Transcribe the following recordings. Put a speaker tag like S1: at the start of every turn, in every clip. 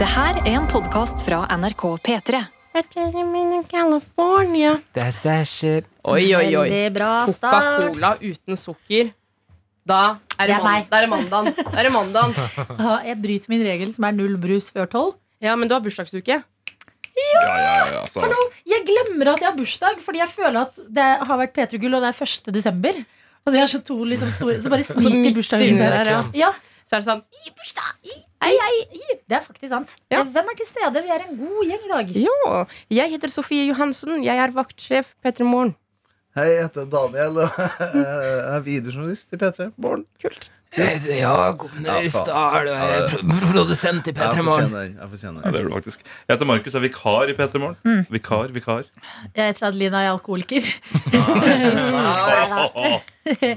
S1: Det her er en podkast fra NRK P3.
S2: California.
S3: That's that shit.
S4: Oi, oi, oi.
S2: Veldig bra start.
S4: Coca-Cola uten sukker. Da er
S2: Det
S4: det,
S2: er meg.
S4: mand da er det mandagen. Da er det mandagen.
S2: Ja, Jeg bryter min regel, som er null brus før tolv.
S4: Ja, men du har bursdagsuke.
S5: Ja, ja, ja, altså.
S2: Hallo! Jeg glemmer at jeg har bursdag, fordi jeg føler at det har vært P3 Gull, og det er 1. desember. Og det er så to liksom store Så bare
S4: Altså, midt
S2: sniker bursdagen
S4: inni
S2: sin.
S4: der, ja.
S2: Ja,
S4: Så er det sånn
S2: det er faktisk sant. Eh,
S4: Ja.
S2: Hvem er til stede? Vi er en god gjeng i dag.
S4: Ja, jeg heter Sofie Johansen. Jeg er vaktsjef P3 Morgen.
S6: Hei, jeg heter Daniel og jeg er videojournalist i P3 Morgen.
S4: Kult.
S3: Eh, Ja, kom
S6: Ja,
S3: ned i
S6: faen.
S3: stad. Du er
S6: Ja, det-
S3: pro- produsent i
S6: Jeg
S3: P3 Morgen.
S6: fortjener jeg fortjener
S5: Ja, det er du faktisk. Jeg heter Markus, er vikar i P3 Morgen.
S4: Mm.
S5: Vikar, vikar.
S2: Jeg heter Adelina, jeg er alkoholiker.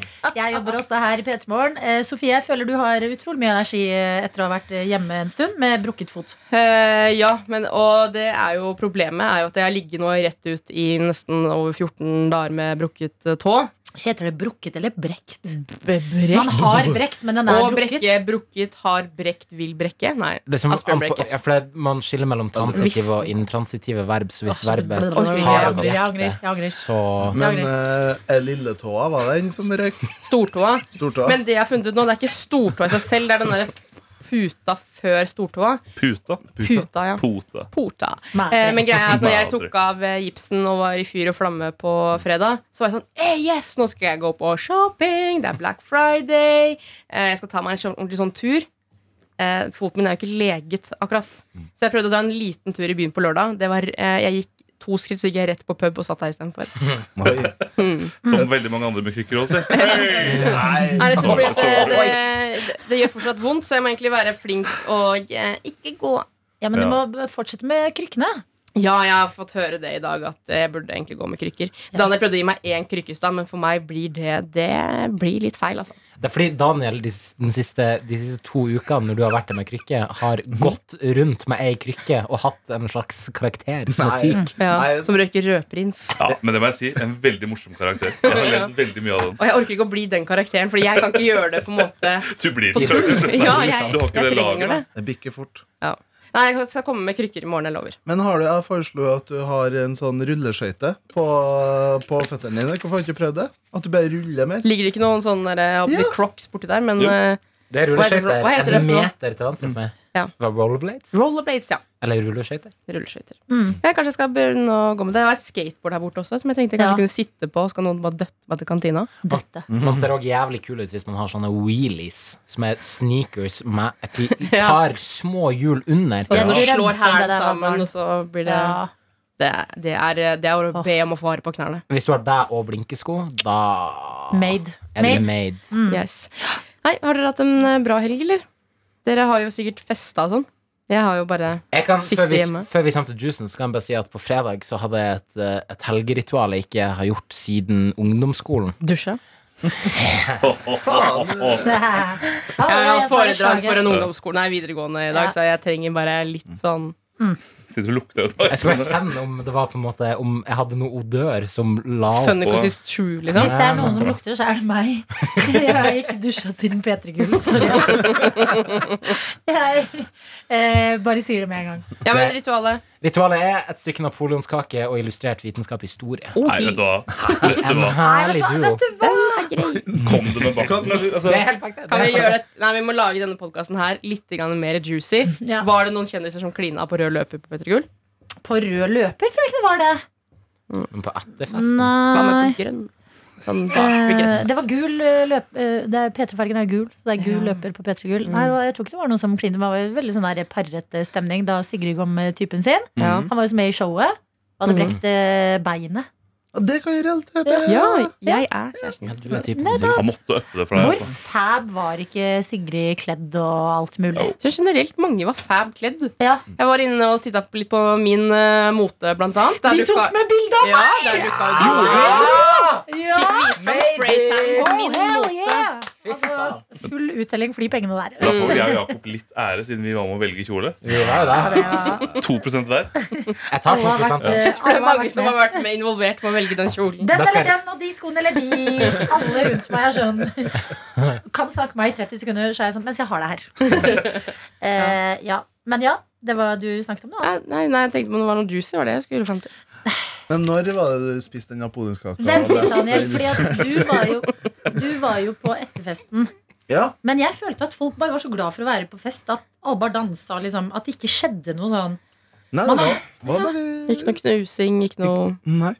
S2: Jeg jobber også her i P3 Morgen. Eh, Sofie, jeg føler du har utrolig mye energi eh, etter å ha vært eh, hjemme en stund med brukket fot.
S4: Eh, ja, men, og det er jo problemet er jo at jeg har ligget nå rett ut i nesten over 14 dager med brukket eh, tå.
S2: Heter det brukket eller brekt? Man
S4: Brekt.
S2: har brekt, men den er
S4: Og
S2: brukket.
S4: brekke, brukket, har brekt, vil brekke. Nei.
S3: Det er som
S4: Asbjørn
S3: anpo-
S4: Brekke.
S3: ja, for det er- man skiller mellom transitive og intransitive verb. Så hvis
S2: Åh, så-
S3: verbet
S2: Oi, jeg
S3: har
S2: angrer, jeg angrer, jeg angrer.
S3: objektet, så
S6: Men uh, lilletåa var den som røyk?
S4: Stortåa.
S6: Stortåa?
S4: Men det jeg har funnet ut nå, det er ikke stortåa i seg selv, det er den derre puta før stortåa.
S5: Puta.
S4: Puta, ja.
S5: Pote.
S4: Porta.
S2: Madre.
S4: Eh, men greia er at når jeg
S5: Madre.
S4: tok av eh, gipsen og var i fyr og flamme på fredag, så var jeg sånn eh, Yes, nå skal jeg gå på shopping! Det er Black Friday! Eh, jeg skal ta meg en sånn- ordentlig sånn tur. Eh, foten min er jo ikke leget, akkurat. Så jeg prøvde å dra en liten tur i byen på lørdag. Det var, eh, jeg gikk to skritt, så gikk jeg rett på pub og satt der istedenfor.
S6: Oi.
S5: Som veldig mange andre med krykker også. si.
S4: Mm. Nei,
S6: Nei.
S4: jeg tror fordi at eh, det, det, det gjør fortsatt vondt, så jeg må egentlig være flink og eh, ikke gå.
S2: Ja, men du
S5: Ja.
S2: må b- fortsette med krykkene.
S4: Ja, jeg har fått høre det i dag, at jeg burde egentlig gå med krykker. Daniel prøvde å gi meg én krykke i stad, men for meg blir det Det blir litt feil, altså.
S3: Det er fordi Daniel de, s- den siste, de siste to ukene når du har vært der med krykke, har
S4: Mhm.
S3: gått rundt med ei krykke og hatt en slags karakter som er
S6: Nei.
S3: syk.
S6: Nei.
S4: Som røyker rødprins.
S5: Ja, men det må jeg si, en veldig morsom karakter. Jeg har ledd veldig mye av den.
S4: Og jeg orker ikke å bli den karakteren, Fordi jeg kan ikke gjøre det på en måte
S5: Du blir
S4: på
S5: den
S4: tull.
S5: karakteren.
S4: Ja, jeg,
S5: Du har ikke
S4: jeg
S5: det laget,
S4: trenger det.
S5: da.
S6: Det bikker fort.
S4: Ja. Nei, jeg skal komme med krykker i morgen, jeg lover.
S6: Men har du, jeg foreslo at du har en sånn rulleskøyte på, på føttene dine. Hvorfor har du ikke prøvd det? At du bare ruller mer?
S4: Ligger det ikke noen sånne der, jeg håper
S6: Ja.
S4: crocs borti der? Men
S5: Jo.
S4: eh,
S3: Det er
S4: Hva heter det for noe? Hva
S3: rulleskøyter
S4: heter det
S3: en
S4: for noe?
S3: meter til venstre for meg.
S4: Ja.
S3: Hva, Rollerblades?
S4: rollerblades, ja.
S3: Eller rulleskøyter?
S4: Rulleskøyter. Ja, kanskje jeg skal begynne å gå med det. Det var et skateboard her borte også, som jeg tenkte jeg kanskje
S2: Ja.
S4: kunne sitte på. Skal noen bare døtte meg til kantina?
S2: Dette.
S4: Mhm.
S3: Man ser òg jævlig kul ut hvis man har sånne wheelies, som er sneakers med et li-
S4: Ja.
S3: par små hjul under.
S4: Og så
S2: Ja.
S4: når du
S2: Drømte om
S4: slår
S2: det
S4: hælen
S2: da jeg var barn.
S4: sammen, og så blir det
S2: Ja.
S4: det, det, er, eh, det er å be om å få vare på knærne.
S3: Hvis du har deg og blinkesko, da
S2: Made.
S3: er det
S2: Made. Mm.
S3: made.
S4: Yes. Nei, har dere hatt en eh, bra helg, eller? Dere har jo sikkert festa og sånn. Jeg har jo bare
S3: Jeg kan,
S4: Sitte
S3: før, vi,
S4: hjemme.
S3: før vi kommer til juicen, så kan jeg bare si at på fredag så hadde jeg et, eh, et helgeritual jeg ikke har gjort siden ungdomsskolen.
S4: dusja.
S2: Ja,
S4: Jeg har hatt foredrag for en
S5: Ja.
S4: ungdomsskole, nei, videregående i dag,
S2: Ja.
S4: så jeg trenger bare
S3: Mm.
S4: litt sånn
S5: Sitter og lukter ut meg.
S3: Jeg skulle bare kjenne om det var på en måte Om jeg hadde noe odør som la opp.
S4: funny because it's true, liksom.
S2: Hvis det er noen som lukter, så er det meg. Jeg har ikke dusja siden P3 Gull. Sorry. ass. Jeg eh, bare sier det med en gang.
S4: Ja, men ritualet.
S3: Ritualet er et stykke napoleonskake og illustrert vitenskap i historie.
S5: Nei, vet du hva. Vet du
S3: En
S5: hva?
S3: herlig duo.
S2: Vet du hva?
S5: Kom du med bakten? eller? Altså,
S3: Det er helt fakta.
S4: Kan vi gjøre et, nei, vi må lage denne podkasten her litt grann mer juicy.
S2: Ja.
S4: Var det noen kjendiser som klina på rød løper på Petter Gull?
S2: På rød løper, tror jeg ikke det var det.
S3: Men på etterfesten
S4: Hva med grønn? Sånn bak,
S2: Eh,
S4: guess.
S2: det var gul eh, løp... eh, det er- P3-fargen er gul. så Det er gul løper på P3
S4: Mm.
S2: Gull. Nei, det var- jeg tror ikke det var noen som klinte. Det var jo veldig sånn der parrete stemning da Sigrid kom med typen sin.
S4: Ja.
S2: Han var jo så med i showet. Og
S4: Mm.
S2: hadde brekt eh, beinet.
S6: Ja, Det kan jeg relatert til.
S4: ja, jeg er kjæresten.
S3: Ja, du er typen
S2: Nei,
S3: sin.
S5: Jeg måtte øppe det for deg.
S2: Hvor
S5: Altså.
S2: fab var ikke Sigrid kledd og alt mulig?
S4: Så generelt mange var fab kledd.
S2: Ja.
S4: Jeg var inne og titta litt på min eh, mote, blant annet. Der
S2: De tok med bilde av
S4: Ja, der dukka
S2: Ja! Oh,
S4: Min mote.
S2: Altså, full uttelling for de pengene der.
S5: Da får jeg og Jakob litt ære, siden vi var med å velge kjole.
S3: Vi var jo
S2: Ja,
S3: der.
S2: det var-
S5: 2 hver.
S3: Jeg tar
S2: Alle har
S3: 2
S2: vært,
S3: da.
S2: eh,
S4: Det
S2: alle
S4: er
S2: har
S4: mange
S2: vært
S4: som har
S2: med.
S4: vært med involvert med å velge den kjolen.
S2: Den
S3: Da skal
S2: eller den og de skoene eller de. Alle rundt meg er sånn. Kan snakke meg i 30 sekunder, så er jeg sånn mens jeg har deg her. Eh, ja. Men ja, Det altså. var du snakket om nå?
S4: Nei, nei, nei, jeg tenkte på om det var noe juicy. var det jeg skulle frem til
S6: Men når var det du spiste den napoleonskaka?
S2: Vent litt, Daniel, fordi at du var jo, du var jo på etterfesten.
S6: Ja,
S2: Men jeg følte at folk bare var så glad for å være på fest at alle bare dansa. Liksom, at det ikke skjedde noe sånn.
S6: Nei, det
S2: Man
S6: var, var
S4: Ikke
S6: bare
S4: noe knusing, ikke noe
S6: Nei.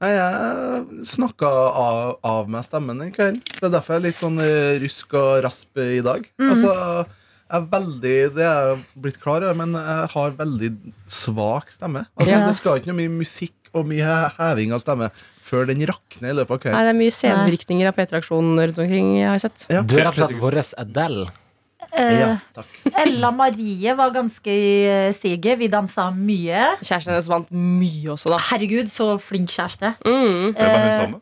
S6: Nei, jeg snakka av, av meg stemmen den kvelden. Det er derfor jeg er litt sånn eh, rusk og rasp i dag.
S4: Mhm.
S6: Altså, jeg er veldig Det er jeg blitt klar over, men jeg har veldig svak stemme. Altså,
S2: Ja.
S6: Det skal ikke noe mye musikk og mye he- heving av stemme før den rakner i løpet av
S4: Nei,
S6: kvelden.
S4: det er mye senvirkninger av P3-aksjonen rundt omkring. jeg har sett
S6: Ja.
S3: Du er rett og slett vår Adele.
S2: Eh,
S6: Ja, takk.
S2: Ella Marie var ganske i eh, stiget. Vi dansa mye.
S4: Kjæresten hennes vant mye også, da.
S2: Herregud, så flink kjæreste.
S4: Mm.
S5: Hvem er hun
S2: Eh,
S5: sammen med?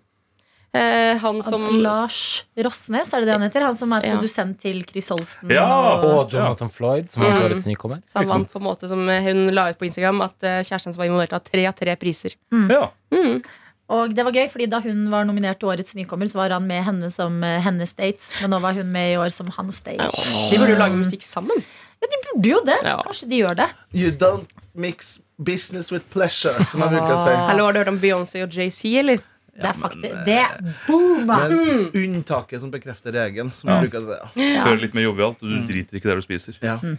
S4: Eh, han som
S2: Lars Rosnes, er det det han heter? Han som er
S4: Ja.
S2: produsent til Chris Holsten.
S5: Ja,
S2: og-
S3: Og Jonathan Floyd, som var
S4: Mm.
S3: årets nykommer.
S4: så han vant på en måte som eh, hun la ut på Instagram, at eh, kjæresten hennes var involvert av tre av tre priser.
S5: Ja.
S4: Mm.
S2: Og det var gøy, fordi da hun var nominert til Årets nykommer, så var han med henne som eh, hennes date. Men nå var hun med i år som hans date.
S4: De burde jo lage musikk sammen.
S2: Burde jo det.
S4: Ja.
S2: Kanskje de gjør det.
S6: You don't mix business with pleasure, som jeg bruker å si.
S4: Ah. Hallo, har du hørt om Beyoncé og JC, eller?
S2: Det er faktisk Det booma!
S6: Men unntaket som bekrefter regelen, som jeg bruker å si.
S5: Føre litt mer jovialt. Du driter ikke der du spiser.
S6: Ja.
S2: Mm.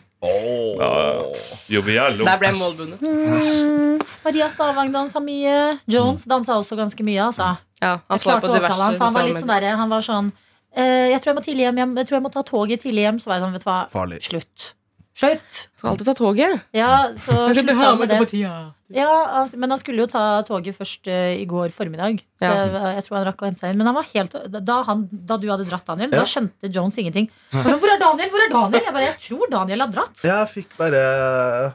S5: Jovial.
S4: Der ble mål bundet.
S2: Mm. Maria Stavang dansa mye. Jones dansa også ganske mye, altså.
S4: Ja, Mm. han
S2: Jeg
S4: svarer
S2: klarte
S4: på
S2: å
S4: diverse
S2: overtale han, for han var
S4: sosiale
S2: litt sånn
S4: medier.
S2: derre Han var sånn eh, jeg, tror jeg, må tidlig hjem, jeg, jeg tror jeg må ta toget tidlig hjem. Så var jeg sånn, vet du hva,
S6: Farlig.
S2: slutt. Slutt!
S4: Skal alltid ta toget.
S2: Ja, så slutta han med det.
S7: Ah!
S4: Nei,
S2: Ja, han, men han skulle jo ta toget først eh, i går formiddag. Så
S4: Ja.
S2: jeg, jeg tror han rakk å hente seg inn. Men han var helt, da, han, da du hadde dratt, Daniel,
S6: Ja.
S2: da skjønte Jones ingenting. Han var Sånn, Hvor er Daniel? Hvor er Daniel? Jeg bare, jeg tror Daniel har dratt.
S6: Jeg fikk bare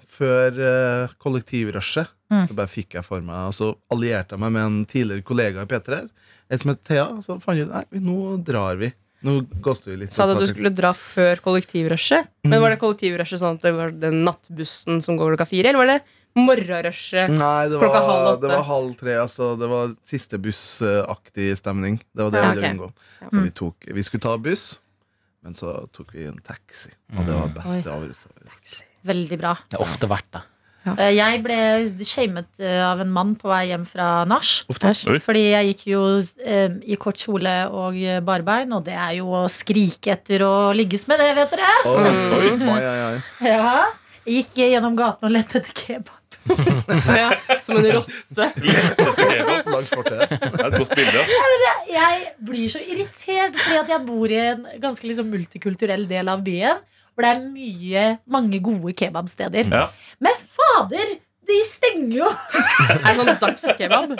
S6: Før eh, kollektivrushet
S2: Mm.
S6: Så bare fikk jeg for meg Og så allierte jeg meg med en tidligere kollega i P3 En som het Thea og Så fant jeg ut, nei, vi- nå drar vi Nå ghoster vi litt
S4: Sa du at du skulle dra før kollektivrushet?
S6: Mm.
S4: Men var det kollektivrushet sånn at det var den nattbussen som går klokka fire, eller var det morgenrushet?
S6: Nei, det
S4: klokka halv
S6: var,
S4: åtte?
S6: det var halv tre altså, Det var siste bussaktig stemning Det var det
S4: Ja, Mm.
S6: vi ville
S4: ok.
S6: unngå Så vi, tok, vi skulle ta buss Men så tok vi en taxi Og det
S4: Mm.
S6: var beste avrelse
S2: Veldig bra.
S3: Det har ofte vært det.
S2: Eh, Jeg ble shamet eh, av en mann på vei hjem fra nach.
S5: Oi.
S2: Fordi jeg gikk jo eh, i kort kjole og eh, barbein, og det er jo å skrike etter å ligges med det, vet dere.
S6: Oi,
S4: Mm.
S6: oi, oi, oi, oi.
S2: Ja. Jeg gikk eh, gjennom gaten og lette etter kebab.
S4: Ja, som en rotte.
S5: Det
S6: Langs fortet.
S5: er et godt bilde.
S2: Jeg blir så irritert fordi at jeg bor i en ganske liksom multikulturell del av byen. Hvor det er mye, mange gode kebabsteder.
S5: Ja.
S2: Men fader, de stenger jo!
S4: Er det sånn dagskebab?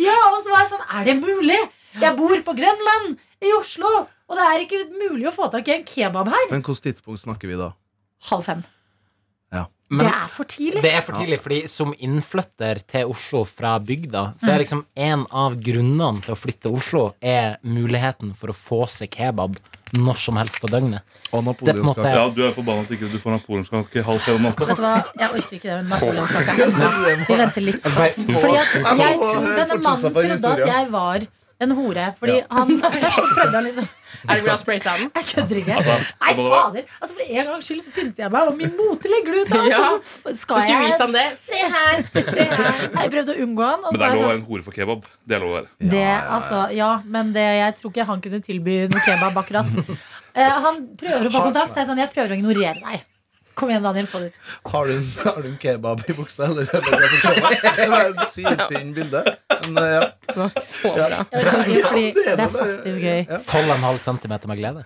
S2: Ja, Og så var jeg sånn, er det mulig? Jeg bor på Grønland, i Oslo, og det er ikke mulig å få tak i en kebab her.
S6: Men hvilket tidspunkt snakker vi da?
S2: Halv fem.
S3: Men
S2: det er for tidlig.
S3: Det er for tidlig, fordi som innflytter til Oslo fra bygda, så er liksom en av grunnene til å flytte til Oslo, er muligheten for å få seg kebab når som helst på døgnet.
S6: Og
S3: Det er på en
S6: napoleonskake
S3: måte
S5: Ja, du er forbanna at ikke du får napoleonskake halv fem om natta.
S2: Vet du hva, Jeg orker ikke det med napoleonskaka. Vi venter litt. Fordi at jeg tror denne mannen trodde at jeg var en hore. Fordi han først så prøvde han liksom
S4: Er det bra sprayta den?
S2: Jeg kødder ikke.
S5: Altså,
S2: Nei,
S5: det må det være.
S2: fader. Altså, for en gangs skyld så pynter jeg meg, og min mote legger det ut. Alt,
S4: Ja.
S2: Og så f- skal
S4: Skulle vist
S2: jeg
S4: han det?
S2: Se her! se her. Jeg prøvde å unngå han. Og
S5: Men
S2: så
S5: det
S2: var
S5: er
S2: jeg
S5: lov å
S2: sånn
S5: være en hore for kebab. Det er lov å være.
S2: Det, altså, ja, men det, jeg tror ikke han kunne tilby noe kebab akkurat. Eh, han prøver å få kontakt, så jeg er sånn, jeg prøver å ignorere deg. Kom igjen, Daniel, få det ut.
S6: Har du, en, har du en kebab i buksa, eller? er det bare for å se meg? Det var et sykt inn bilde. Men, eh, ja.
S4: Det var ikke så bra.
S2: Jeg vet ikke, fordi
S6: det er
S2: det er
S6: bare-
S2: faktisk gøy.
S3: 12,5 cm med glede.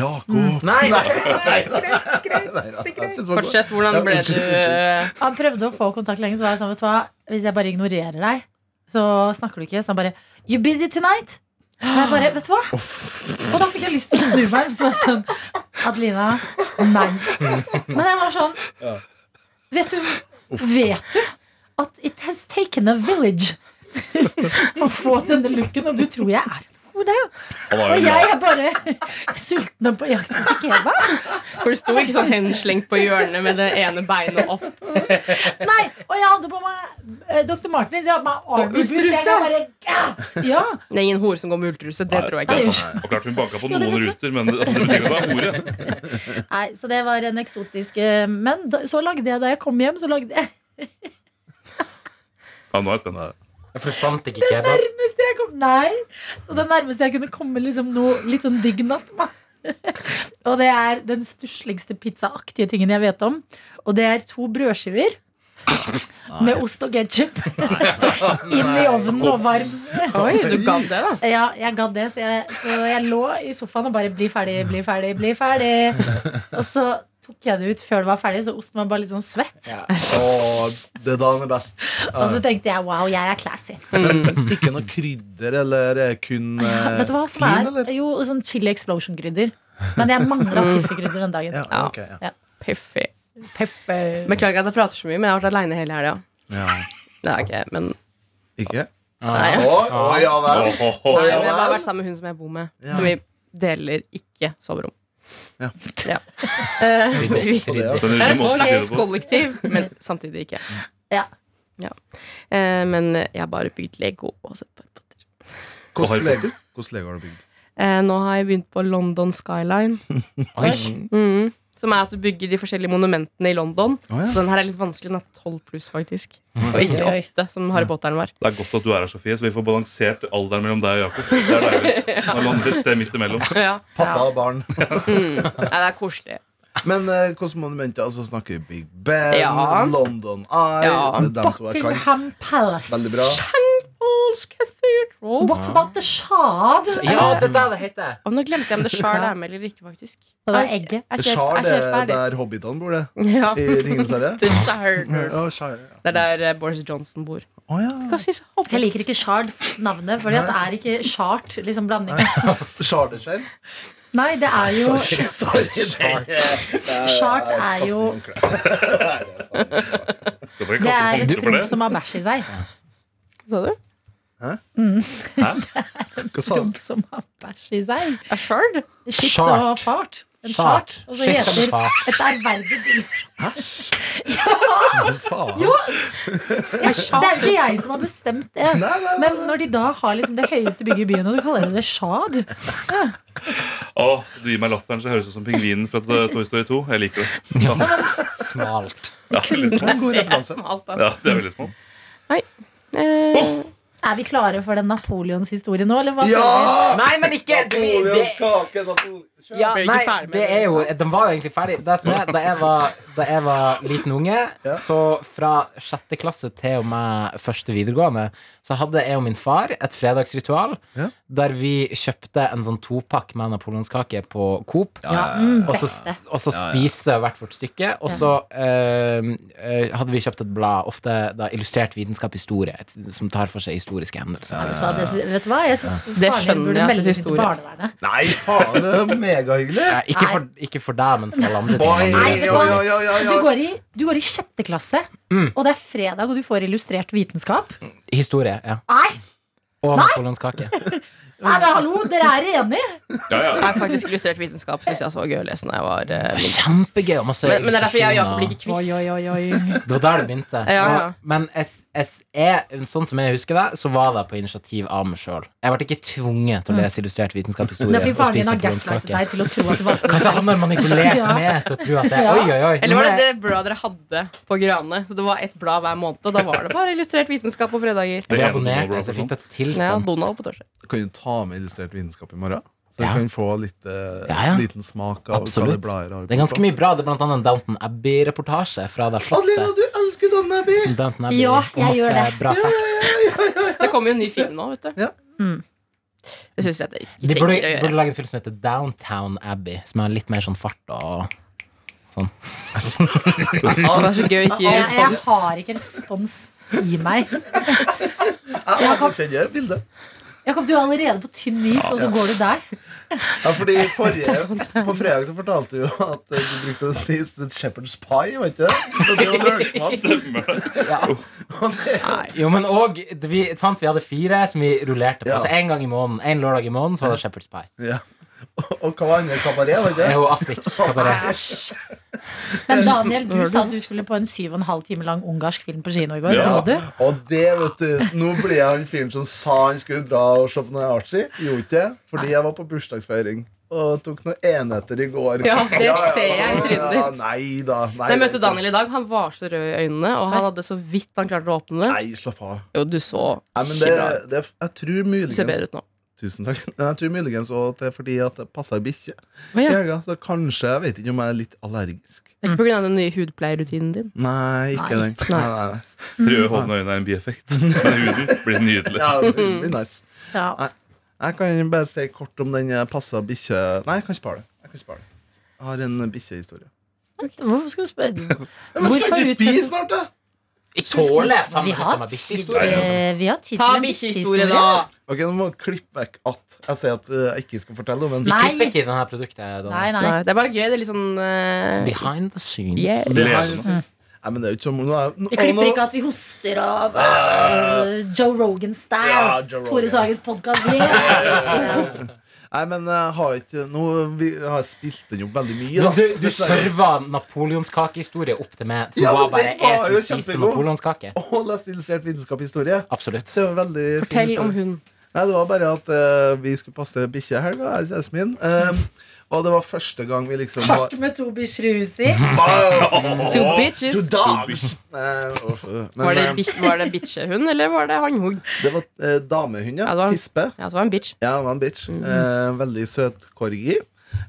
S6: Jakob.
S3: Nei,
S6: Jeg synes det var godt.
S4: Fortsett. Hvordan ble du eh,
S2: Han prøvde å få kontakt lenge, så var jeg sånn, vet du hva, hvis jeg bare ignorerer deg, så snakker du ikke. Så han bare, you busy tonight? Og jeg bare, vet du hva? Og da fikk jeg lyst til å snu meg, så var jeg sånn, Adelina, nei. Men jeg var sånn, vet du, vet du at it has taken a village å få denne looken, og du tror jeg er en hvor det er?
S5: Han har
S2: Og
S5: jo
S2: jeg er bare sulten og på jakt etter kebab.
S4: For du sto ikke sånn henslengt på hjørnet med det ene beinet opp.
S2: Nei, og jeg hadde på meg eh, Dr. Martens. Jeg hadde på meg Army-boots.
S4: ulltruse.
S2: Jeg var bare, "Gah!" Ja.
S4: Det er ingen hore som går med ulltruse. Det
S5: Nei.
S4: tror jeg
S2: Nei,
S4: ikke.
S2: unnskyld.
S5: Og klart hun banka på
S2: Ja, det
S5: noen
S2: vet jeg.
S5: ruter, men altså, det betyr ikke at det er hore.
S2: Nei, så det var en eksotisk eh, Men da, så lagde jeg, da jeg kom hjem, så lagde jeg
S5: Ja, nå er jeg spent.
S3: For du fant ikke kebab?
S2: nærmeste jeg kom Nei! Så det nærmeste jeg kunne komme liksom noe litt sånn digg nattmat. og det er den stussligste pizzaaktige tingen jeg vet om. Og det er to brødskiver med ost og ketsjup inn i ovnen og varm.
S4: Oi, du gadd det, da.
S2: Ja, jeg gadd det, så jeg, så jeg lå i sofaen og bare 'bli ferdig, bli ferdig, bli ferdig'. Og så tok jeg det ut før det var ferdig, så osten var bare litt sånn svett.
S6: Og det er da den er best. Eh,
S2: Og så tenkte jeg 'wow, jeg er classy'.
S6: Mm. Ikke noe krydder eller eh, kun eh,
S2: Vet du hva som
S6: clean,
S2: er?
S6: eller?
S2: Jo, sånn chili explosion-krydder. Men jeg mangla
S4: Mm.
S2: pifferkrydder den dagen.
S6: Ja, ok, ja.
S4: Piffy.
S2: Pepper.
S4: Beklager at jeg prater så mye, men jeg har vært aleine hele helga.
S6: ja.
S4: Nei, ok, men
S6: Ikke?
S4: nei,
S6: Å,
S4: ja.
S6: å, ja vel.
S5: Åh, åh, åh.
S4: Nei, men
S6: ja
S4: jeg har bare
S6: vel.
S4: vært sammen med hun som jeg bor med.
S6: Ja.
S4: Som vi deler ikke soverom.
S6: Ja.
S4: Ja. Eh, vi
S6: Og det, ja.
S5: Den
S4: er
S5: rune
S4: et
S5: måten å si det
S4: slags
S5: på.
S4: kollektiv, men samtidig ikke.
S2: Ja.
S4: Ja. Eh, men jeg har bare bygd Lego og sett på Harry Potter.
S6: Hvordan lego hvordan lego har du bygd?
S4: Eh, nå har jeg begynt på London Skyline.
S3: Oi.
S4: Mhm. Som er at du bygger de forskjellige monumentene i London.
S6: Å, ja.
S4: Så den her er litt vanskelig. Den er 12 pluss, faktisk. Og ikke
S2: Oi.
S4: 8, som Harry Potteren var.
S5: Det er godt at du er her, Sofie, så vi får balansert alderen mellom deg og Jakob. Det er deilig. Nå lander vi et sted midt imellom.
S4: Ja.
S6: Pappa og barn.
S4: Mm. Nei, det er koselig.
S6: Men eh, hvilke monumenter? Altså, snakker vi Big Ben,
S4: Ja.
S6: London Eye
S4: Ja.
S6: Sånn Det er dem to jeg kan.
S2: Buckingham Palace.
S6: Veldig bra.
S4: Paul's Cathedral.
S2: What about the shad?
S3: Ja, det er det det heter.
S4: Og nå glemte jeg om det sjøl er med eller ikke, faktisk.
S2: Det var egget.
S4: Jeg er ikke helt-
S6: Shard
S4: jeg er
S6: er
S4: ikke helt ferdig.
S6: der hobbitene bor, det.
S4: Ja.
S6: I Ringenes herre.
S4: The Shard.
S6: Ja, Shard, oh, ja.
S4: Det er der eh, Boris Johnson bor.
S2: Altså,
S6: Å, ja.
S4: Hva synes jeg? Hobbit?
S2: Jeg liker ikke shard-navnet, for det er ikke shart. Liksom blanding.
S6: Charterskjell.
S2: Nei, det er jo
S6: Sorry. sorry.
S2: Shard er jo
S5: Så får jeg
S2: Det
S5: kaste
S2: er et
S5: punkter for
S2: rom
S5: det.
S2: som har bæsj i seg.
S4: Sa du?
S6: Hva sa
S2: Rom som har bæsj i seg.
S4: A shard?
S2: Skitt
S3: Shart.
S2: og fart. En
S3: Shart.
S2: shart. Og så
S3: Skitt og
S2: heter
S3: fart.
S2: et ærverdig bilde
S6: du? Faen. Jo,
S2: Jeg- Det er jo ikke jeg som har bestemt det.
S6: nei, nei, nei.
S2: Men når de da har liksom det høyeste bygget i byen, og du kaller det det shad
S5: Åh, du gir meg latteren, så høres det ut som pingvinen fra eh, Toy Story 2. Jeg liker det.
S3: Ja. Smalt.
S5: Ja, litt
S6: Det var en god referanse.
S4: Alt da.
S5: Ja, det er veldig smalt.
S4: Eh,
S2: Er vi klare for den Napoleonshistorien nå, eller hva?
S6: Ja!
S3: Nei, men ikke
S6: Napoleon skake, Napoleon.
S3: Ja,
S4: Ble ikke
S3: nei,
S4: ferdig med
S3: det
S4: det,
S3: er jo, den var jo egentlig ferdig. Det som er, da, jeg var, da jeg var liten unge,
S6: Ja.
S3: så fra sjette klasse til og med første videregående, så hadde jeg og min far et fredagsritual
S6: Ja.
S3: der vi kjøpte en sånn topakk med napoleonskake på Coop.
S2: Ja, mm,
S3: Og så,
S2: beste.
S3: og så
S6: Ja, ja.
S3: spiste hvert vårt stykke. Og så eh, eh, hadde vi kjøpt et blad, ofte da illustrert vitenskap historie, et- som tar for seg historiske hendelser.
S2: Vet du hva, det- vet du hva? Jeg syns
S4: Det
S2: faren din
S4: skjønner jeg
S2: burde
S4: at
S2: melde
S4: det
S2: seg til
S4: historie.
S2: barnevernet.
S6: Nei, faen, det er megahyggelig.
S3: Eh, ikke, for, ikke for deg, men for alle andre.
S6: Oi,
S3: ting.
S2: Nei, vet
S6: oi,
S2: du hva?
S6: oi, oi, oi,
S2: Du
S6: oi.
S2: går i, du går i sjette klasse, og det er fredag, og du får illustrert vitenskap.
S3: Historie, ja.
S2: Nei,
S3: Og napoleonskake.
S2: nei men hallo, dere er enige?
S5: Ja,
S4: jeg
S5: ja.
S4: har faktisk illustrert vitenskap, synes jeg så var gøy å lese når jeg var eh, mindre.
S3: Kjempegøy. og masse
S4: men, men det er derfor jeg og Jakob
S3: illustrasjoner.
S4: liker quiz.
S2: oi, oi.
S3: Det var der det begynte.
S4: Ja, ja.
S3: Og- Men jeg, jeg, jeg, sånn som jeg husker det, så var det på initiativ av meg sjøl. Jeg ble ikke tvunget
S4: Mm.
S3: til å lese illustrert vitenskapshistorie.
S2: Det er fordi
S3: og
S2: faren din
S3: spise
S2: har gaslightet
S3: napoleonskake.
S2: deg til å tro at du valgte det
S3: Kanskje
S2: selv.
S3: han har manipulert
S2: Ja.
S3: meg til å tro at det er
S2: Ja.
S3: Oi, oi, oi.
S4: Eller var
S3: nå
S4: det
S3: er jeg-
S4: det bladet dere hadde på Grane? Så det var ett blad hver måned, og da var det bare illustrert vitenskap på fredager.
S3: Jeg
S5: Det
S3: ble
S5: er
S3: abonnert,
S5: Donald
S3: så jeg altså, fikk sånn- det
S4: Ja,
S3: tilsendt.
S4: Donald på torsdag.
S6: Kan du ta med illustrert vitenskap i morgen? Så du
S3: Ja.
S6: kan få litt, eh,
S3: Ja, ja.
S6: liten smak av hva
S3: Absolutt.
S6: det blader har
S3: Det er ganske mye bra. Det er blant annet en Downton Abbey-reportasje fra det
S6: Adelina,
S3: slottet.
S6: du elsker Don Abbey!
S3: Som Downton Abbey
S2: Ja,
S3: og
S2: jeg
S3: masse
S2: gjør det.
S3: Bra facts.
S4: Det kommer jo en ny film nå, vet du.
S6: Ja.
S2: Mm.
S4: Det syns jeg det ikke
S3: De burde,
S4: trenger å
S3: burde
S4: gjøre.
S3: lage en film som heter Downtown Abbey, som er litt mer sånn fart og sånn.
S4: Det er så gøy å ikke
S2: Jeg,
S4: gi
S2: jeg
S4: respons.
S2: har ikke respons i meg.
S6: Jeg kjenner bildet.
S2: Jakob, du er allerede på tynn is, og så går du der.
S6: Ja, fordi forrige, På fredag så fortalte du jo at eh, du brukte å spise shepherd's pie, vet du. Så det var lørdagsmat.
S5: Stemmer det?
S6: Og det-
S3: Jo, men òg vi, sant, vi hadde fire som vi rullerte på.
S6: Ja.
S3: Så en gang i måneden, en lørdag i måneden så var det Shepherd's Pie.
S6: Ja. Og- Og hva var andre kabaret, var
S3: Det
S6: det
S3: er
S6: ikke?
S3: jo Aspik. Kabaret.
S8: Men Daniel, du sa du skulle på en syv og en halv time lang ungarsk film på kino i går.
S5: Ja.
S8: Hva du?
S6: Og det, vet du. Nå ble jeg han fyren som sa han skulle dra og se på noe artsy. Gjorde ikke det, fordi jeg var på bursdagsfeiring. Og tok noen enheter i går.
S4: Ja, det ser jeg i
S6: så-
S4: trynet
S6: ja,
S4: ditt.
S6: Nei da. Nei,
S4: Da jeg møtte Daniel i dag, han var så rød i øynene, og han hadde så vidt han klarte å åpne det.
S6: Nei, slapp av.
S4: Jo, du så
S6: Nei, men
S4: ikke bra ut.
S6: det, det, jeg tror
S4: Du ser
S6: muligens
S4: bedre ut nå.
S6: Tusen takk. Jeg tror muligens også at det er fordi at det passer bikkje
S4: Å,
S6: i
S4: ja.
S6: helga. Så kanskje jeg vet ikke om jeg er litt allergisk.
S4: Det er ikke pga. den nye hudpleierrutinen din.
S6: Nei, ikke
S8: Nei.
S6: den. Nei, nei, nei.
S5: Røde hånden og øynene er en bieffekt. Men huden blir nydelig.
S6: Ja, det blir nice.
S8: Ja.
S6: Jeg kan bare si kort om den passa bikkje Nei, jeg kan spare det. Jeg, kan spare det. jeg har en bikkjehistorie.
S8: Hvorfor skal du spørre?
S6: Men
S8: Hvorfor
S6: skal ikke
S8: utsette-
S6: spise snart, da?
S3: Tåle fem
S8: Vi
S3: minutter
S8: har
S3: med
S8: tid,
S3: bikkjehistorie. altså.
S8: eh, vi har tid
S4: Ta
S8: til en bikkjehistorie.
S4: bikkjehistorie, da!
S6: Ok, Nå må jeg klippe vekk at jeg sier at eh, jeg ikke skal fortelle om en
S3: Vi
S8: Nei.
S3: klipper ikke i denne produktet. Daniel.
S8: Nei, nei.
S4: Nei, det er bare gøy. Det er litt sånn eh,
S3: Behind the scenes.
S4: yeah.
S6: Det her-
S5: Gleder
S6: Mm. Nei, men det er jo ikke som nå er, nå,
S8: Vi klipper
S6: nå-
S8: ikke at vi hoster og øh, Joe
S6: Ja,
S8: Rogan-style.
S6: Joe Rogan.
S8: Tore Sagens podkast. Yeah.
S6: Nei, men jeg har ikke Nå vi, jeg har spilt den jo veldig mye,
S3: Men
S6: da.
S3: du, du serva napoleonskakehistorie opp til meg, som
S6: Ja,
S3: var
S6: men
S3: bare
S6: den var
S3: jeg som
S6: jo
S3: spiste
S6: kjempegod.
S3: napoleonskake.
S6: Og lest illustrert vitenskapshistorie.
S3: Absolutt.
S6: Det var en veldig fin
S4: Fortell
S6: historie.
S4: om hun.
S6: Nei, det var bare at eh, vi skulle passe bikkje i helga, jeg og kjæresten min. Eh, og det var første gang vi liksom var
S8: Pakk med to bikkjer i huset i.
S4: Two
S5: Åh,
S6: To
S4: bitches.
S6: dogs! Eh, uff, eh, men
S4: Var det,
S6: eh,
S4: bitch, var det bitchehund, eller var det hannhund?
S6: det var eh, damehund, ja.
S4: Ja, det var en-
S6: Tispe.
S4: Ja, det var en bitch. Mm.
S6: Ja, han var en bitch. Eh, veldig søt korgi.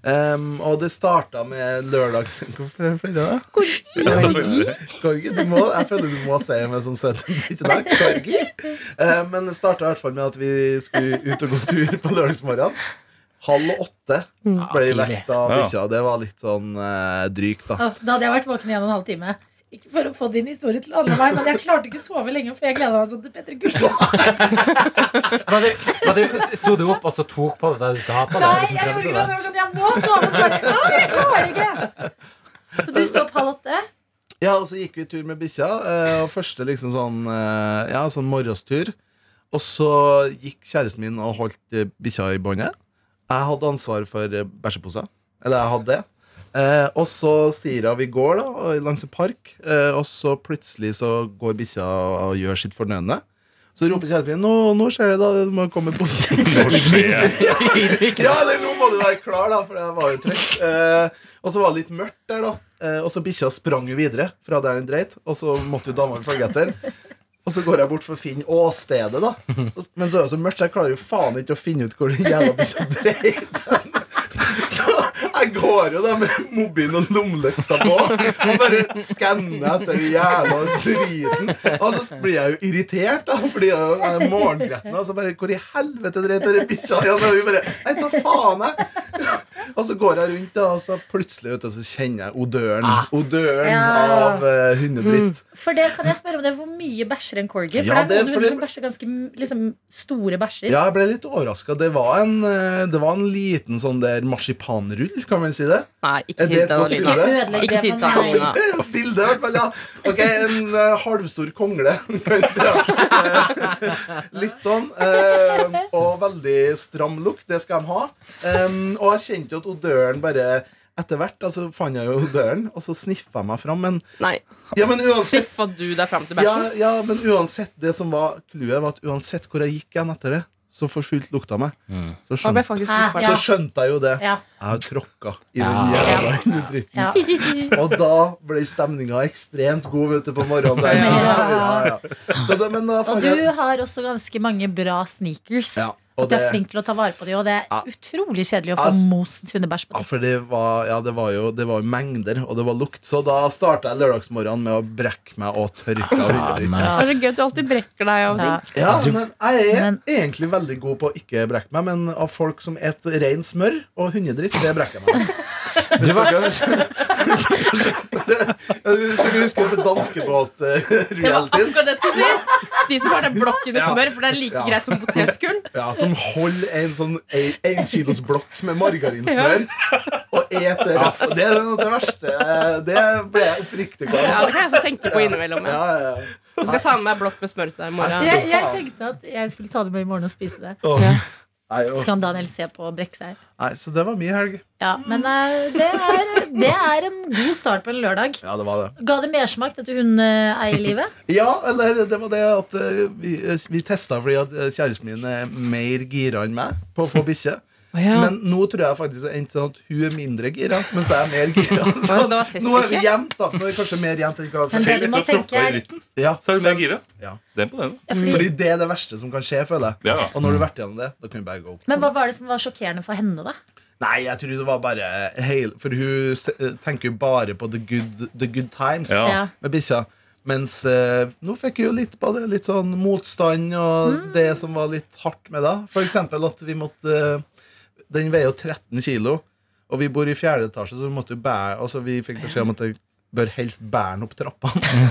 S6: Em, og det starta med lørdags... Hvorfor er det flere av det? Korgi? Du må, jeg føler du må si med sånn søt bikkjedag. Korgi. Eh, men det starta i hvert fall med at vi skulle ut og gå tur på lørdagsmorgenen. Halv åtte
S4: Mm.
S6: ble
S3: Ja, tidlig.
S6: vekt av
S5: Ja.
S6: bikkja. Det var litt sånn eh, drygt, da.
S8: Å, Da hadde jeg vært våken i en og en halv time. Ikke for å få din historie til å handle om meg, men jeg klarte ikke å sove lenge, for jeg gleda meg sånn til Petter Gullvåg.
S3: Var du, var du, sto du opp og så tok på deg det du skulle ha på deg?
S8: Nei,
S3: og
S8: jeg
S3: liksom
S8: gjorde
S3: prøvde
S8: ikke det.
S3: det?
S8: Jeg var sånn, jeg må sove. Så bare, «Å, jeg klarer ikke. Så du sto opp halv åtte?
S6: Ja, og så gikk vi tur med bikkja. eh, Og første liksom sånn eh, Ja, sånn morgenstur. Og så gikk kjæresten min og holdt eh, bikkja i båndet. Jeg hadde ansvar for eh, bæsjeposer. Eller jeg hadde det. Eh, og så sier hun vi går da og- langs en park, eh, og så plutselig så går bikkja og gjør sitt fornødne. Så roper kjæresten min nå, 'Nå skjer det, da. Du må komme på
S5: Nå skjer det.
S6: Ja, eller nå må du være klar, da, for jeg var jo trøtt. Eh, og så var det litt mørkt der, da. Eh, og så bikkja sprang jo videre fra der den dreit, og så måtte jo dama følge etter. Og så går jeg bort for å finne åstedet, da. Og- Men så er det så mørkt, så jeg klarer jo faen ikke å finne ut hvor den jævla bikkja dreit. Så jeg går jo da med mobilen og lommelykta på og bare skanner etter den jævla driten. Og så blir jeg jo irritert, da, fordi jeg er morgengretten. Og så Altså, bare Hvor i helvete dreit den bikkja? Ja, men vi bare Nei, ta faen, jeg. Og så går jeg rundt, da, og så plutselig vet du, så kjenner jeg odøren Odøren
S8: Ja.
S6: av eh, hundedritt.
S8: For det kan jeg spørre om det, Hvor mye bæsjer en corgi? For
S6: Ja,
S8: det er
S6: det-
S8: noen
S6: for
S8: hunder
S6: det-
S8: som bæsjer ganske liksom, store bæsjer.
S6: Ja, jeg ble litt overraska. Det, var en, eh, det var en liten sånn der marsipanrull, kan man si det?
S4: Nei,
S6: Er
S4: ikke si
S6: det et
S4: det,
S6: godt
S4: Adelina.
S6: bilde?
S8: Ødelegg
S4: Ikke
S8: det
S4: si
S8: for
S4: det,
S8: meg.
S4: Adelina.
S6: Det er jo bildet, i hvert fall. ja Ok, En eh, halvstor kongle, kan vi si. Ja. Eh, litt sånn. eh, og veldig stram lukt. Det skal de ha. Em, og jeg kjente jo at odøren bare Etter hvert altså, fant jeg jo odøren, og så sniffa jeg meg fram. Men,
S4: Nei,
S6: ja, men uansett
S4: Siffa du deg fram til
S6: ja,
S4: bæsjen?
S6: ja, men uansett Det som var clouet, var at uansett hvor jeg gikk igjen etter det, så for fullt lukta meg. Så
S4: Da ble jeg
S6: skjønte,
S4: faktisk
S8: Hæ?
S4: litt
S6: så
S4: fæl.
S6: skjønte jeg jo det.
S8: Ja.
S6: Jeg har tråkka i
S3: Ja.
S6: den jævla dritten.
S8: Ja.
S6: Og da ble stemninga ekstremt god vet du, på morgenen. Der.
S4: Ja.
S6: Ja, ja. Så det, men da
S8: Og
S6: fant
S8: du
S6: jeg
S8: har også ganske mange bra sneakers.
S6: ja,
S8: Og
S6: og
S8: du er
S6: det, Altså-
S8: flink til å ta vare på dem, og det er
S6: Ja.
S8: utrolig kjedelig å få
S6: Ass.
S8: most hundebæsj på
S6: ja,
S8: dem.
S6: for det var, ja, det var jo det var jo mengder, og det var lukt. Så da starta jeg lørdagsmorgenen med å brekke meg og tørke av hundedritt.
S4: Det er så gøy at du alltid brekker deg og
S8: Ja.
S4: ting.
S6: Ja, men jeg er
S8: Men-
S6: egentlig veldig god på å ikke brekke meg, men av folk som et ren smør og hundedritt, det brekker jeg meg. Hvis dere husker- hvis dere husker på eh, danskebåt-realityen
S4: Akkurat det jeg skulle si! De som har den blokken med
S6: Ja.
S4: smør, for det er like
S6: Ja.
S4: greit som potetgull.
S6: Ja, Som holder en sånn en, en kilos blokk med margarinsmør og eter rapp. Det er noe av det verste. Det ble jeg oppriktig glad
S4: Ja,
S6: av.
S4: det kan jeg også tenke på innimellom.
S6: Ja,
S4: Jeg
S6: ja, ja.
S4: Jeg skal ta med meg blokk med smør til deg i morgen.
S2: Jeg, jeg tenkte at jeg skulle ta det med i morgen og spise det.
S6: Åh. Nei,
S2: Så
S6: åh.
S2: kan Daniel se på og brekke seg.
S6: Nei, så det var mye helg.
S2: Ja, men eh, det er, det er en god start på en lørdag.
S6: Ja, det var det.
S2: Ga det mersmak dette hundeeierlivet?
S6: Ja, eller det var det at eh, vi, uh, vi testa fordi at eh, kjæresten min er mer gira enn meg på å få bikkje. Men nå tror jeg faktisk det endte sånn at hun er mindre gira, mens jeg er mer gira. Så
S4: det var
S6: nå er vi
S4: testbikkje.
S6: jevnt, da. Nå er vi kanskje mer jevnt enn hva
S2: Men det du
S5: Selv etter
S2: må
S5: å ha
S2: tenke
S5: proppa i
S2: er-
S5: dritten,
S6: Ja,
S5: så er du mer
S6: så-
S5: gira.
S6: Ja.
S5: Det er imponerende.
S6: Fordi det er det verste som kan skje, føler jeg.
S5: Ja, ja.
S6: Og når du har vært gjennom det, da kan vi bare gå opp.
S2: Men hva var det som var sjokkerende for henne, da?
S6: Nei, jeg tror det var bare heil, For hun se- tenker jo bare på the good, the good times
S5: Ja.
S2: Ja.
S6: med bikkja. Mens eh, nå fikk hun jo litt på det. Litt sånn motstand og det som var litt hardt med det. For eksempel at vi måtte eh, Den veier jo 13 kilo, og vi bor i fjerde etasje, så vi måtte jo bære Altså vi fikk beskjed om at jeg bør helst bære den opp trappene.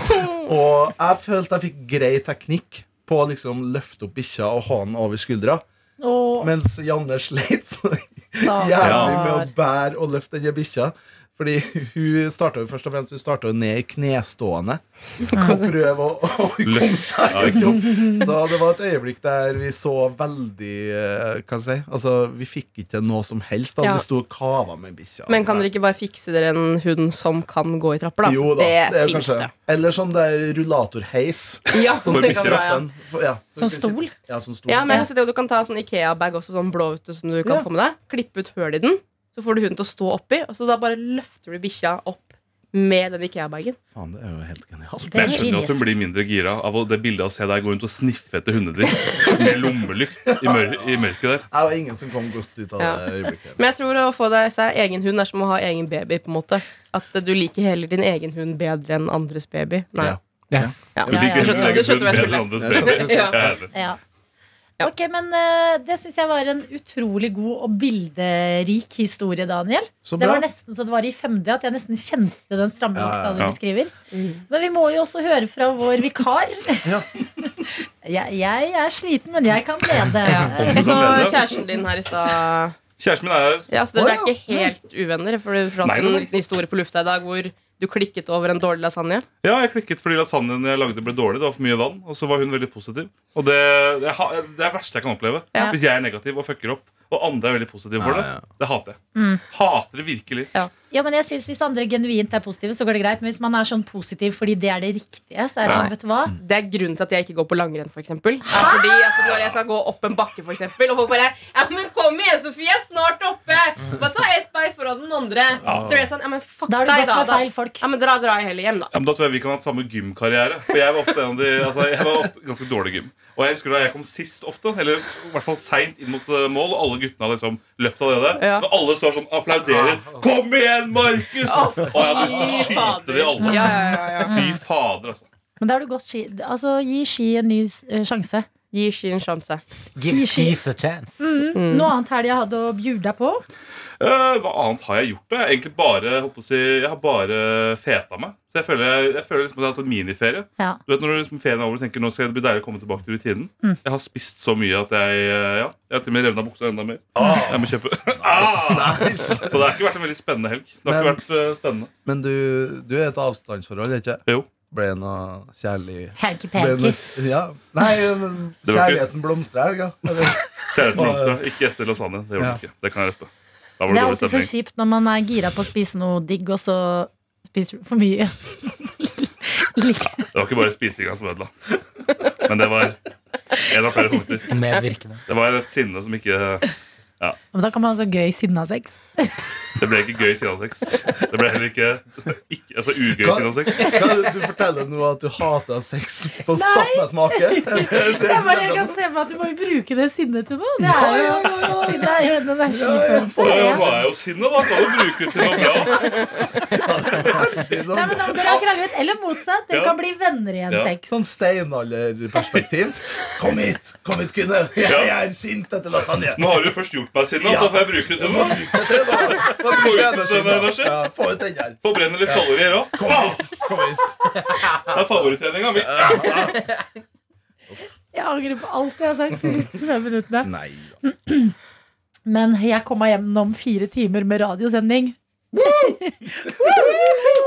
S6: og jeg følte jeg fikk grei teknikk på å liksom løfte opp bikkja og ha den over skuldra.
S2: Åh,
S6: Mens Janne sleit så
S2: Stakkar.
S6: jævlig med å bære og løfte denne bikkja. Fordi hun starta jo først og fremst Hun starta jo ned i knestående. Og prøve å, å komme
S5: Løft.
S6: seg
S5: Ja, ikke
S6: ut. Så det var et øyeblikk der vi så veldig eh, Hva skal jeg si Altså, vi fikk ikke til noe som helst. Da.
S4: Ja.
S6: Vi sto og kava med bikkja.
S4: Men kan dere ikke bare fikse dere en hund som kan gå i trapper, da?
S6: Jo da, det,
S4: det
S6: er
S4: fins
S6: kanskje
S4: det.
S6: Eller sånn der rullatorheis.
S4: Ja,
S6: Sånn
S5: For
S6: at du kan
S5: bikkjer,
S6: dra
S4: ja.
S6: den- for- ja.
S2: Sånn stol?
S6: Ja, sånn stol.
S4: Ja, men jeg har sett det, og Du kan ta sånn Ikea-bag også, sånn blå ute, som du kan
S6: Ja.
S4: få med deg. Klippe ut høl i den, så får du hunden til å stå oppi, og så da bare løfter du bikkja opp med den Ikea-bagen.
S6: Faen, det er jo helt genialt.
S2: Det er
S5: Men jeg skjønner jo at hun
S2: genius.
S5: blir mindre gira av å- det bildet av å se deg gå rundt og sniffe etter hundedritt med lommelykt i, mør i mørket der.
S6: Jeg var ingen som kom godt ut av
S4: Ja.
S6: det øyeblikket.
S4: Men jeg tror å få deg seg egen hund er som å ha egen baby. på en måte At du liker heller din egen hund bedre enn andres baby. Nei.
S6: Ja.
S3: Ja.
S4: Ja,
S5: Du
S4: ja, ja,
S5: liker
S4: jeg
S5: din
S4: skjønte- Du
S5: egen hund
S4: skjønte hva jeg
S5: bedre enn
S4: skulle
S5: andres
S6: Jeg skjønte hva
S5: baby.
S6: jeg
S5: Jeg
S4: skulle.
S5: er ærlig.
S2: Ja.
S4: Ja.
S2: Ok, men eh, Det syns jeg var en utrolig god og bilderik historie, Daniel.
S6: Så
S2: Det
S6: bra.
S2: var nesten så det var i 5D at jeg nesten kjente den stramme
S6: Ja, ja, Mm.
S2: lukta du
S5: ja.
S2: beskriver. Men vi må jo også høre fra vår vikar.
S6: Ja.
S2: jeg, jeg er sliten, men jeg kan lede.
S4: Jeg så kjæresten din her i stad.
S5: Kjæresten min er her.
S4: Ja, så dere
S6: Å,
S4: er
S6: ja.
S4: ikke helt uvenner? For du fortalte
S5: Nei, nei,
S4: en
S5: nei.
S4: liten historie på lufta i dag hvor du klikket over en dårlig lasagne.
S5: Ja, jeg klikket fordi lasagnen jeg lagde ble dårlig. Det var for mye vann, og så var hun veldig positiv. Og det, det, ha- det er det verste jeg kan oppleve.
S4: Ja.
S5: Hvis jeg er negativ og fucker opp, og andre er veldig positive for det.
S6: Ja, ja.
S5: Det hater jeg. Hater det virkelig.
S2: Mm. Ja, men jeg synes Hvis andre genuint er positive, så går det greit. Men hvis man er sånn positiv fordi det er det riktige, så er det
S5: Ja.
S2: sånn, vet du hva?
S4: Det er grunnen til at jeg ikke går på langrenn, for eksempel. Er Fordi at Når jeg skal gå opp en bakke, for eksempel, og folk bare Ja, men kom igjen, Sofie, jeg er snart oppe! Bare ta ett bein foran den andre. Så blir jeg sånn, ja, men fuck
S2: Da har du gått
S4: deg, da.
S2: med
S4: da.
S2: feil folk.
S4: Ja, men dra, dra jeg heller hjem, da.
S5: Ja, men da tror jeg vi kan ha hatt samme gymkarriere. For jeg var ofte en av de altså, Jeg var ofte ganske dårlig i gym. Og jeg husker da jeg kom sist ofte, eller i hvert fall seint inn mot eh, mål, og alle guttene hadde liksom løpt allerede.
S4: Ja.
S5: Når alle står sånn applauderer 'Kom igjen, Markus!' og jeg hadde lyst til å
S4: fy fader.
S5: skyte de alle.
S4: Ja, ja, ja, ja.
S5: Fy fader, altså.
S2: Men da har du gått ski. Altså, Gi ski en ny eh, sjanse.
S4: Gi ski en sjanse.
S3: Give skis a chance.
S2: Mm. Noe annet helg jeg hadde å bjude deg på?
S5: Eh, hva annet har jeg gjort? da? Jeg, har egentlig bare, jeg, håper å si, jeg har bare feta meg. Så jeg føler, jeg føler liksom at jeg har hatt en miniferie.
S2: Ja.
S5: Du vet Når du liksom ferien er over og tenker nå skal det bli deilig å komme tilbake til rutinen.
S2: Mm.
S5: Jeg har spist så mye at jeg eh, ja, Jeg har til og med revna buksa enda mer. Jeg må kjøpe ah!
S6: Nice.
S5: Så det har ikke vært en veldig spennende helg. Det har
S6: Men-
S5: ikke vært eh, spennende
S6: Men du, du er et avstandsforhold, ikke?
S5: Jo.
S6: Ble det noe kjærlig ble det
S2: Hanky-panky.
S6: noe, ja. Nei, men
S5: Det var ikke-
S6: kjærligheten blomstrer, helga. Eller-
S5: Kjære til Amsterdam, ikke etter lasagne. Det
S6: Ja.
S5: gjorde det ikke. Det kan jeg rette.
S2: Det er
S5: Da var det dårlig
S2: alltid så
S5: stemning.
S2: kjipt når man er gira på å spise noe digg, og så spiser du for mye.
S5: Det var ikke bare spisinga som ødela. Men det var en av flere punkter.
S3: Medvirkende.
S5: Det var et sinne som ikke
S2: Men da kan man ha så gøy sinna sex.
S5: Det ble ikke gøy siden av sex. Det ble heller ikke, ikke altså ugøy
S6: Hva?
S5: siden av sex.
S6: Kan Du forteller nå at du hater sex på stappmett make. Det, det, det,
S2: Jeg bare jeg kan se for meg at Du må jo bruke det sinnet til noe. Det er jo sinne er jo en energifølelse.
S5: Og
S2: Det
S5: jeg
S2: er-
S5: var jo sinne, da. Kan du bruke det til noe bra?
S6: det er
S2: Nei,
S6: sånn,
S2: men om dere har kranglet, Eller motsatt. Dere
S5: Ja.
S2: kan bli venner igjen.
S5: Ja.
S2: Sex.
S6: sånn steinalderperspektiv. Kom hit, kom hit, kvinne. Jeg er sint etter lasagne.
S5: Nå har du jo først gjort meg sinna, så får jeg bruke det til noe.
S6: Det var- det var mye
S5: ut
S6: energi,
S5: den
S6: da.
S5: energi.
S6: Ja, Få ut den der.
S5: Forbrenne litt kalorier òg.
S6: Kom hit. Kom hit.
S5: Det er favorittreninga mi. angrer på alt jeg har sagt de siste fem minuttene.
S6: Nei.
S5: Men jeg kom meg gjennom fire timer med radiosending.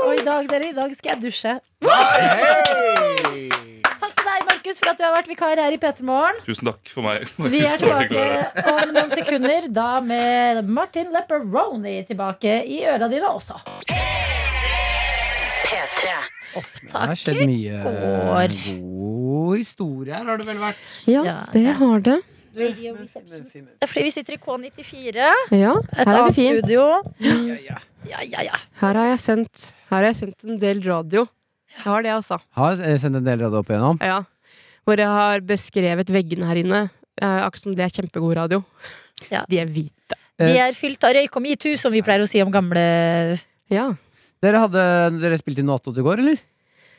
S5: Og i dag, dere, i dag skal jeg dusje. Takk til deg, Markus, for at du har vært vikar her i P3 Morgen.
S9: Tusen takk for meg.
S5: Vi er
S9: Så hyggelig å være her.
S5: tilbake om noen sekunder, da med Martin Lepperoni tilbake i øra dine også.
S7: Det har skjedd mye
S5: går.
S7: god historie her, har det vel vært?
S4: Ja,
S5: Ja,
S4: det
S5: det-
S4: har det.
S7: Fint.
S2: Det er fordi vi sitter i K94,
S4: Ja,
S2: et
S4: her er det
S2: annet
S4: fint.
S2: studio.
S7: Ja, ja.
S2: Ja, ja, ja.
S4: Her har jeg sendt, her har jeg sendt en del radio. Jeg har det, altså.
S7: Har eh, sendt en del radio opp igjennom.
S4: Ja. Hvor jeg har beskrevet veggene her inne. Eh, akkurat som det er kjempegod radio.
S2: Ja.
S4: De er hvite.
S2: De
S7: Eh.
S2: er fylt av røyk og metoo, som vi pleier å si om gamle
S4: Ja.
S7: Dere, hadde, dere spilte inn noe attåt i går, eller?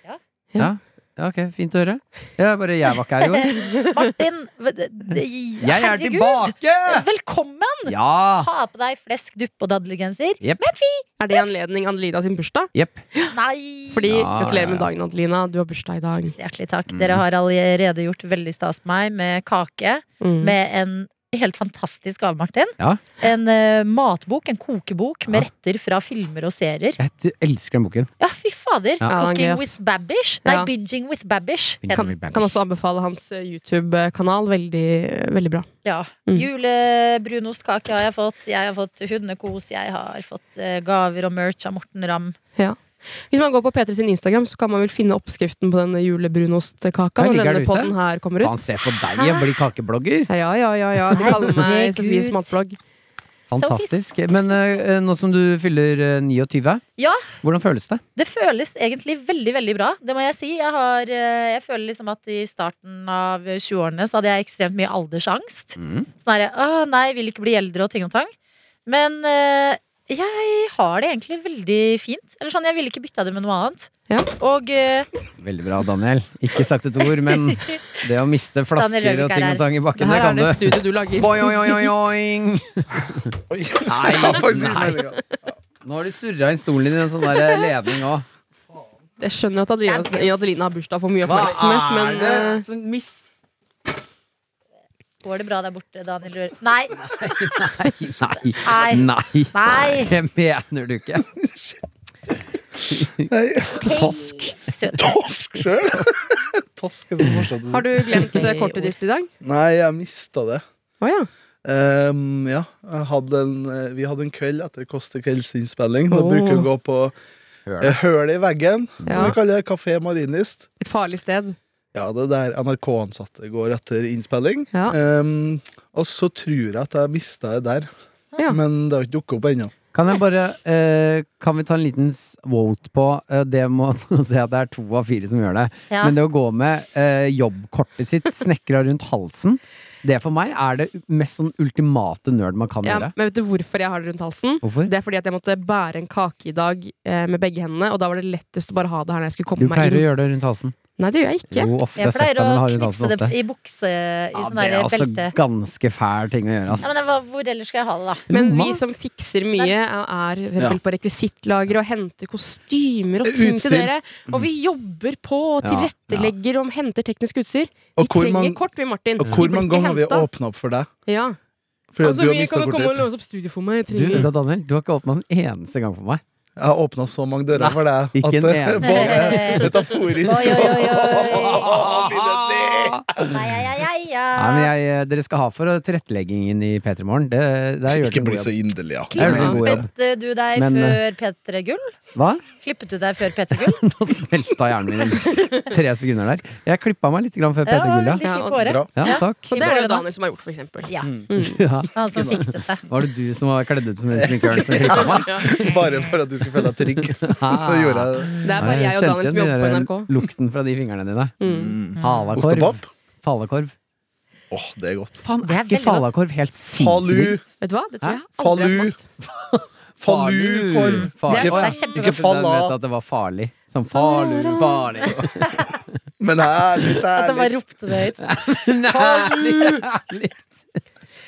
S2: Ja.
S7: ja. Ja, ok, Fint å høre. Ja, bare jeg var ikke her i går.
S2: Martin. v- det- det-
S7: Jeg er
S2: herregud.
S7: tilbake!
S2: Velkommen!
S7: Ja!
S2: Ha på deg flesk, dupp og dadlegenser.
S4: Er det anledning Adelina sin bursdag?
S7: Jepp.
S2: Nei!
S4: Fordi,
S7: Ja,
S4: Gratulerer med
S7: ja,
S4: dagen, Adelina. Du har bursdag i dag.
S2: Hjertelig takk.
S7: Mm.
S2: Dere har allerede gjort veldig stas på meg med kake.
S4: Mm.
S2: Med en helt fantastisk gave, Martin.
S7: Ja.
S2: En eh, matbok, en kokebok, med
S7: Ja.
S2: retter fra filmer og serier.
S7: Jeg elsker den boken.
S2: Ja, fy fader.
S7: Ja.
S4: Ja, den er
S2: Cooking
S4: gøy, ass.
S2: with Babish. Nei,
S4: Ja.
S2: Binging with Babish.
S4: Kan, kan også anbefale hans eh, YouTube-kanal. Veldig, veldig bra.
S2: Ja.
S4: Mm.
S2: Julebrunostkaker har jeg fått. Jeg har fått hundekos. Jeg har fått eh, gaver og merch av Morten Ramm.
S4: Hvis man går på P3 sin Instagram, så kan man vel finne oppskriften på denne julebrunostkaka.
S7: Der
S4: Når
S7: ligger
S4: denne
S7: den ute.
S4: podden her kommer ut.
S7: Faen, se på deg, jeg blir kakeblogger.
S4: Ja, ja, ja. ja. De kaller meg
S2: Herregud.
S4: Sofies matblogg.
S2: Sofis.
S7: Fantastisk. Men eh, nå som du fyller eh, 29,
S2: Ja.
S7: hvordan føles det?
S2: Det føles egentlig veldig, veldig bra. Det må jeg si. Jeg, har, eh, jeg føler liksom at i starten av 20-årene så hadde jeg ekstremt mye aldersangst.
S4: Mm.
S2: Sånn herre Å nei, vil ikke bli eldre og ting og tang. Men eh, jeg har det egentlig veldig fint. Eller sånn, jeg ville ikke bytta det med noe annet.
S4: Ja.
S2: Og eh,
S7: Veldig bra, Daniel. Ikke sagt et ord, men det å miste flasker
S2: Røvik
S7: og
S2: er
S7: ting
S2: her.
S7: og tang i
S4: Det
S7: bakken, det
S4: her er
S7: kan
S4: det
S7: du.
S4: studiet du lager.
S7: Boing, oing, oing, oing, oing.
S6: Oi.
S7: Nei,
S6: Jeg har faktisk ikke
S7: nei.
S6: meningen.
S7: Nå har du surra inn stolen din i en sånn der ledning òg.
S4: Jeg skjønner at Adelina, Adelina har bursdag for mye
S7: Hva
S4: oppmerksomhet,
S7: er
S4: men
S7: det
S4: eh,
S7: som mist...
S2: går det bra der borte, Daniel Rør? Nei.
S7: Nei,
S2: Nei.
S7: nei,
S2: Nei.
S7: det mener du ikke.
S4: eh,
S2: Tosk. Søt.
S6: Tosk sjøl! Tosk er så morsomt.
S4: har du glemt eh,
S2: Hei, ord.
S4: kortet ditt i dag?
S6: Nei, jeg mista det.
S4: Å ja.
S6: Ehm, ja, jeg hadde en, eh, vi hadde en kveld etter Kåss til kveldsinnspilling. Da
S4: Åh.
S6: bruker vi å gå på
S7: Høl.
S6: eh, Høl i veggen, som
S4: Ja.
S6: vi kaller Kafé Marienlyst.
S4: Et farlig sted.
S6: Ja, det er der NRK-ansatte går etter innspilling.
S4: Ja.
S6: Ehm, og så tror jeg at jeg mista det der.
S4: Ja.
S6: Men det har ikke dukka opp ennå.
S7: Kan jeg bare eh, Kan vi ta en liten s- vote på eh, Det må si at det er to av fire som gjør det.
S2: Ja.
S7: Men det å gå med eh, jobbkortet sitt snekra rundt halsen, det for meg er det mest sånn ultimate nerd man kan
S4: Ja,
S7: gjøre.
S4: men vet du hvorfor jeg har det rundt halsen?
S7: Hvorfor?
S4: Det er fordi at jeg måtte bære en kake i dag eh, med begge hendene, og da var det lettest å bare ha det her når jeg skulle
S7: Du
S4: komme meg
S7: pleier å
S4: inn.
S7: gjøre det rundt halsen.
S4: Nei, det gjør jeg ikke.
S7: Jo, ofte.
S2: Jeg pleier
S7: sett
S2: å
S7: deg, men har rundt
S2: knipse
S7: halsen
S2: det
S7: ofte.
S2: i bukse i
S7: Ja,
S2: sånn
S7: det er altså
S2: der
S7: også
S2: belte.
S7: ganske fæl ting å gjøre,
S2: Ja,
S7: ass.
S2: men hva, hvor ellers skal jeg ha det, da?
S4: Men vi
S7: Lomma?
S4: som fikser mye, er for
S6: Ja.
S4: eksempel på rekvisittlageret og henter kostymer og ting
S6: Utstyr.
S4: til dere. Og vi jobber på og
S7: Ja, ja.
S4: tilrettelegger og henter teknisk utstyr. Vi
S6: Og hvor
S4: trenger
S6: mange-
S4: kort, vi, Martin.
S6: Og hvor
S4: Vi blir
S6: mange
S4: ikke
S6: ganger har vi
S4: hentet.
S6: åpna opp for deg?
S4: Ja.
S6: Fordi at
S4: Altså,
S6: du har
S4: vi
S6: mista
S4: kan komme og
S6: kortet ditt.
S4: låse opp studio for meg.
S7: Du,
S4: jeg trenger-
S7: da, Daniel, du har ikke åpna en eneste gang for meg.
S6: Jeg har åpna så mange dører for deg
S7: ikke
S6: at det
S7: en
S6: både metaforisk
S2: Oi, oi, oi, oi.
S6: og billedlig.
S2: Ai, ai, ai, ai,
S7: Nei, men
S2: ai.
S7: jeg, eh, dere skal ha for eh, tilretteleggingen i P3 Morgen. Det, der gjør
S6: Ikke
S7: dere en
S6: bli
S7: god
S6: så
S7: jobb.
S6: inderlig, ja.
S7: Jeg gjør dere en god jobb.
S2: Klippet du deg
S7: Men, eh,
S2: før P3 Gull?
S7: Hva?
S2: Klippet du deg før P3 Gull?
S7: Nå smelta hjernen min i tre sekunder der. Jeg klippa meg litt grann før
S2: Ja,
S7: P3 Gull, ja.
S2: veldig fint på
S4: Ja,
S2: håret.
S6: Bra.
S7: Ja,
S2: Ja.
S7: takk.
S4: Og det er Mm. det Daniel som har gjort, for eksempel.
S2: Ja,
S7: Ja.
S2: han som fikset det.
S7: Var det du som var kledd ut som en sminkørn som klippa meg? Ah.
S4: Ja.
S6: Bare for at du skulle føle deg trygg. Så gjorde jeg det.
S4: Det er bare jeg og
S7: kjente
S4: Daniel som
S7: igjen
S4: jobber på
S7: den
S4: NRK.
S7: der Lukten fra de fingrene dine.
S4: Mm.
S7: Falakorv.
S6: Ostepop?
S7: Falakorv.
S6: Åh, det er godt.
S7: Faen,
S2: Det er
S7: er ikke
S2: veldig
S7: falakorv
S2: godt.
S7: helt sinnssykt?
S6: Falu.
S4: Vet du hva? Det tror jeg aldri jeg har
S6: Falu.
S4: smakt.
S6: Falukorv.
S7: Farlig.
S2: Det er
S7: Å, ja.
S2: kjempegodt.
S6: Ikke falla.
S7: Jeg vet at det var farlig. Som falu, farlig.
S6: Men ærlig,
S2: At han bare
S6: ærlig.
S2: ropte det høyt.
S7: Nei,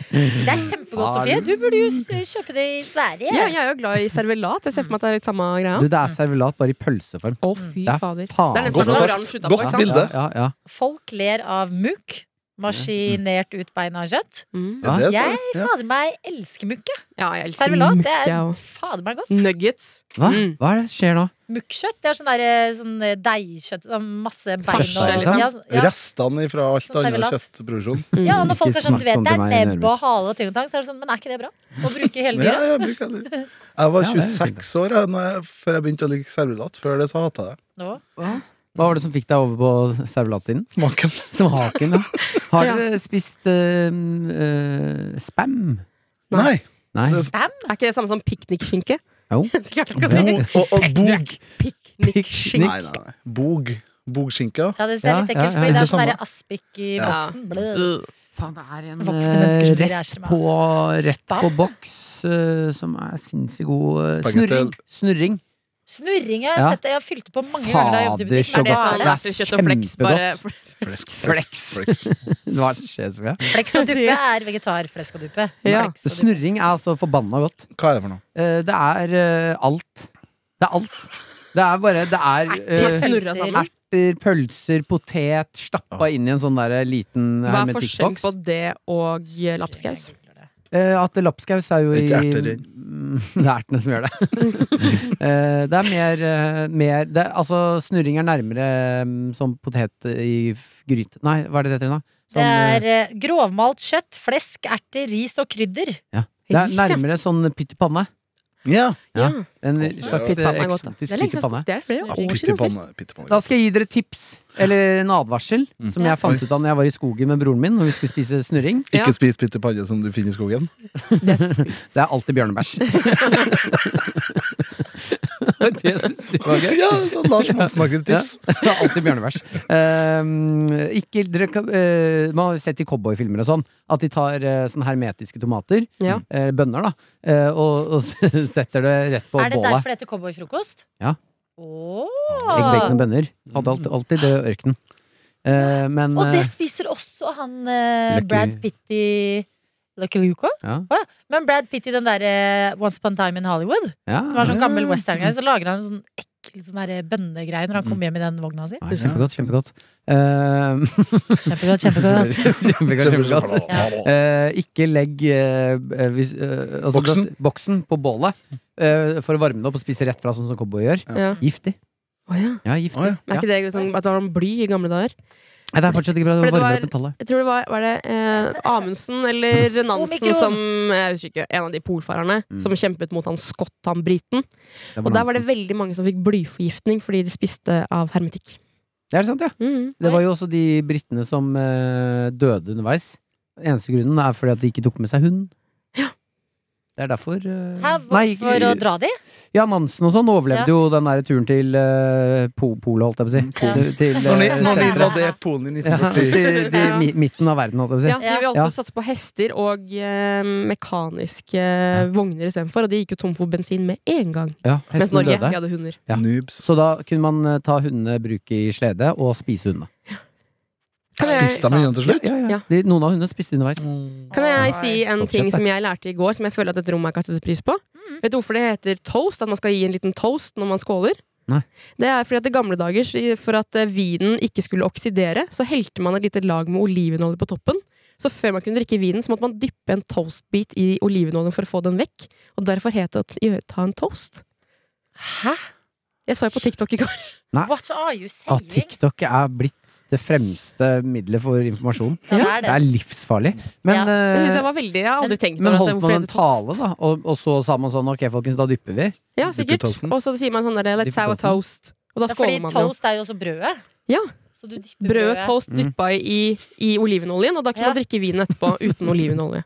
S2: Det er kjempegodt, Sofie. Du burde jo s- kjøpe det i
S4: Ja,
S2: Sverige.
S4: jeg er jo glad i servelat. Jeg ser for meg at det er litt samme greia.
S7: Du, det er servelat bare i pølseform.
S4: Å, fy
S7: Det er
S4: fader.
S7: faen
S4: Det er nesten
S6: Godt
S4: sånn
S6: sagt.
S4: oransje
S6: Godt
S4: utenpå. ikke sant?
S6: bilde.
S7: Ja, ja, ja.
S2: Folk ler av Munch. Maskinert ut beina og kjøtt.
S10: Mm.
S7: Hva?
S6: Er det,
S2: Jeg
S6: så? Ja.
S2: fader meg elsker mukke.
S4: Ja, jeg elsker
S2: Servelat, det
S4: mukke, jeg
S2: er
S4: også.
S2: fader meg godt.
S10: Nuggets.
S7: Hva?
S10: Mm.
S7: Hva er det som skjer nå?
S2: Mukkjøtt, det er sånn der, sånn eh, deigkjøtt sånn Masse bein
S7: Farse,
S2: og
S7: liksom?
S2: sånn. ja, ja.
S6: Restene fra alt
S2: Sånn
S6: annet
S2: servelat.
S6: kjøttproduksjon.
S2: ja, og når folk
S7: Ikke
S2: er sånn, du
S7: smak
S2: vet
S7: sånn
S2: det
S7: til meg i
S2: er nebb
S7: øret
S2: og hale og ting og tang, så er det sånn, men er ikke det bra? Å bruke hele
S6: Ja,
S2: dyret?
S6: jeg, bruker det. jeg var
S7: Ja, det er
S6: 26 år jeg, når jeg, før jeg begynte å like servelat. Før det så hata jeg det.
S2: Nå.
S7: Hva var det som fikk deg over på servelatsiden?
S6: smaken.
S7: Som haken, ja. Har dere spist eh, eh, spam?
S6: Nei.
S7: Nei.
S6: Det-
S10: Er ikke det samme som piknikskinke?
S7: Jo.
S10: Det klarte jeg ikke å si.
S6: Bo, og, og bog.
S10: Piknikskinke.
S6: Nei, nei, nei. Bog. Bogskinka.
S2: Ja, det ser
S7: Ja, ja,
S2: litt ekkelt,
S7: ja.
S2: fordi det
S6: Det
S2: er sånn
S6: samme.
S2: der aspik i boksen. Blø.
S7: Faen, det er en
S2: Voksne mennesker som
S7: eh,
S2: sier
S7: rett,
S2: æsj meg.
S7: på, rett
S2: Spam.
S7: på boks eh, som er sinnssykt god eh,
S6: Spagetti.
S7: snurring. snurring.
S2: Snurring har jeg
S7: Ja.
S2: sett, jeg har fylt på mange ganger da jeg jobbet i
S7: Fader, så
S2: butikk. Er
S7: godt.
S2: det farlig?
S10: farlig? Kjøtt og fleks, bare-
S6: Flesk.
S7: Flex.
S6: Flex.
S7: Hva er det som skjer, Sofia?
S2: Fleks og duppe er vegetarflesk og duppe.
S4: Ja.
S2: Fleks
S7: Så
S2: og duppe.
S7: Snurring er altså forbanna godt.
S6: Hva er det for noe?
S7: Eh, det er eh, alt. Det er alt. Det er bare Det er eh,
S2: Pølser.
S7: erter, pølser, potet stappa inn i en sånn der liten
S4: Hva er forskjellen
S7: hermetikkboks.
S4: på det og lapskaus?
S7: Eh, at lapskaus er jo i
S6: Det er ikke erter i.
S7: Mm, Det er ertene som gjør det. Eh, det er mer, eh, mer det, er- Altså, snurring er nærmere mm, som potet i f- gryte Nei, hva er det det heter, da?
S2: Det
S7: Sånn, eh,
S2: er eh, grovmalt kjøtt, flesk, erter, ris og krydder.
S7: ja. det er nærmere sånn pytt i panne.
S6: Ja.
S7: En
S6: Å,
S7: slags
S6: pytt i
S4: panne er
S7: eh,
S4: godt, da.
S7: eksotisk
S4: Det er lenge
S7: pytt i
S4: siden jeg
S7: panne.
S4: spiste det. er flere
S6: Ja,
S4: år siden jeg
S6: Pytt i
S4: spiste.
S6: panne. Pytt i panne.
S7: Da skal jeg gi dere tips, eller en advarsel,
S6: Mm.
S7: som jeg fant ut av når jeg var i skogen med broren min, når vi skulle spise snurring.
S6: Ikke spis pytt i panne som du finner i skogen.
S7: Det er alltid bjørnebæsj. det synes jeg var gøy.
S6: Ja, så Lars Monsen-aktige tips.
S7: Det er alltid bjørnebæsj. Ehm, ikke, dere, kan- eh, man har jo sett i cowboyfilmer og sånn at de tar eh, sånne hermetiske tomater,
S4: Ja.
S7: eh, bønner, da, eh, og, og setter det rett på
S2: Er det
S7: bålet.
S2: derfor det heter cowboyfrokost?
S7: Ja.
S2: Åh.
S7: Egg, bacon og bønner. Hadde alltid, alltid det i ørkenen. Eh, men
S2: Og det
S7: eh,
S2: spiser også han eh,
S7: Lucky-
S2: Brad Pitt i Lucky Luke også?
S7: ja,
S2: Men Brad Pitt i den der eh, Once Upon a Time in Hollywood,
S7: ja.
S2: som er sånn gammel western-greie, så lager han en sånn ekkel sånn der, eh, bønnegreie når han kommer hjem i den vogna si.
S7: Nei, Mm. kjempegodt, kjempegodt. Ehm,
S2: Kjempegodt, kjempegodt.
S7: kjempegodt, kjempegodt. Eh, ikke legg eh, eh, hvis, eh, altså,
S6: Boksen.
S7: da- boksen på bålet eh, for å varme det opp og spise rett fra, sånn som cowboy gjør.
S4: Ja.
S7: Giftig.
S4: Å, ja.
S7: Ja, giftig.
S6: Å, ja.
S4: Er ikke det sånn at det var om bly i gamle dager?
S7: Nei, det er fortsatt ikke bra. Det
S4: Fordi det
S7: varmer
S4: var-
S7: opp metallet.
S4: Jeg tror det var, var det eh, Amundsen eller Nansen
S2: Omikron.
S4: som Jeg husker ikke, en av de polfarerne
S7: Mm.
S4: som kjempet mot han skott, han briten.
S7: Det
S4: Og der var det
S7: Nansen.
S4: veldig mange som fikk blyforgiftning fordi de spiste av hermetikk.
S7: Det er sant, ja.
S4: Mm.
S7: Det var jo også de britene som eh, døde underveis. Eneste grunnen er fordi at de ikke tok med seg hund. Det er derfor eh,
S2: Hæ,
S7: nei,
S2: for å dra de?
S7: Ja, Nansen og sånn overlevde
S2: Ja.
S7: jo den der turen til eh, po Polet, holdt jeg på å si. Til, til,
S6: Mm. Når de, når
S7: eh,
S6: de
S7: sentrum.
S6: invaderte Polen i
S7: ja,
S6: 1940
S7: til, til mi midten av verden, holdt jeg på å si.
S4: Ja, de ville
S7: Ja.
S4: alltid satse på hester og eh, mekaniske vogner istedenfor, og de gikk jo tom for bensin med en gang.
S7: Ja,
S4: Mens
S7: hesten
S4: Norge,
S7: døde.
S4: vi hadde hunder.
S7: Ja.
S6: Noobs.
S7: Så da kunne man eh, ta hundene, bruke i slede og spise hundene.
S4: Kan jeg-
S6: Spiste de igjen til slutt? Mm.
S7: Ja, ja, ja.
S4: Ja.
S7: De, noen av hundene spiste underveis.
S4: Kan jeg si en
S7: Fortsett,
S4: ting
S7: da.
S4: som jeg lærte i går, som jeg føler at et rom er kastet pris på?
S2: Mm.
S4: Vet du hvorfor det heter toast? At man skal gi en liten toast når man skåler?
S7: Nei.
S4: Det er fordi at i gamle dager, i- for at eh, vinen ikke skulle oksidere, så helte man et lite lag med olivenolje på toppen. Så før man kunne drikke vinen, så måtte man dyppe en toastbit i olivenoljen for å få den vekk. Og derfor het det å t- ta en toast.
S2: Hæ?
S4: Jeg så det på TikTok i går.
S2: What are you
S7: At
S2: saying?
S7: TikTok er blitt det fremste middelet for informasjon.
S2: Ja, det er
S7: Det er
S2: det.
S7: livsfarlig. Men,
S4: Det synes
S7: eh,
S4: jeg var veldig, jeg har aldri tenkt
S7: men
S4: over at
S7: holdt
S4: hvorfor
S7: man en
S4: det heter
S7: tale,
S4: toast.
S7: da, og, og så sa man sånn Ok, folkens, da dypper vi.
S6: Dypp
S4: Ja,
S6: i
S4: sikkert.
S6: toasten.
S4: Og så sier man sånn der, let's have a toast. Og da
S2: Ja, fordi
S4: skåler man jo.
S2: toast er jo også brødet.
S4: Ja.
S2: Så du dypper
S4: Brød og
S2: brødet.
S6: Mm.
S4: toast dyppa i, i olivenoljen, og da kunne
S2: Ja.
S4: man drikke vin etterpå uten olivenolje.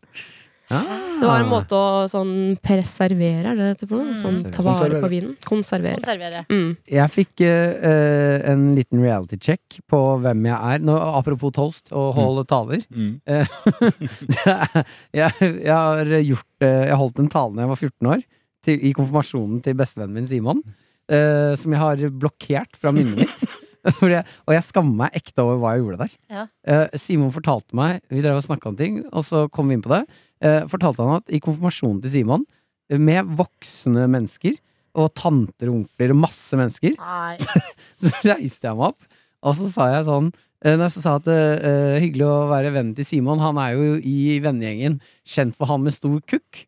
S7: Ah.
S4: Det var en måte å sånn preservere, er det det heter for noe? Sånn ta vare på vinen. Konservere.
S2: Mm. Konservere.
S4: Mm.
S7: Jeg fikk eh, eh, en liten reality check på hvem jeg er. Nå, apropos toast og holde taler.
S6: Mm.
S7: Eh, det er- jeg, jeg har gjort eh, Jeg holdt en tale da jeg var 14 år, til, i konfirmasjonen til bestevennen min Simon. eh, som jeg har blokkert fra minnet mitt. For jeg, og jeg skammer meg ekte over hva jeg gjorde der.
S2: Ja.
S7: Eh, Simon fortalte meg Vi drev og snakka om ting, og så kom vi inn på det. Eh, fortalte han at i konfirmasjonen til Simon, eh, med voksne mennesker og tanter og onkler og masse mennesker,
S2: Nei.
S7: så reiste jeg meg opp, og så sa jeg sånn eh, når jeg sa at eh, eh, hyggelig å være vennen til Simon. Han er jo i vennegjengen kjent for han med stor kukk.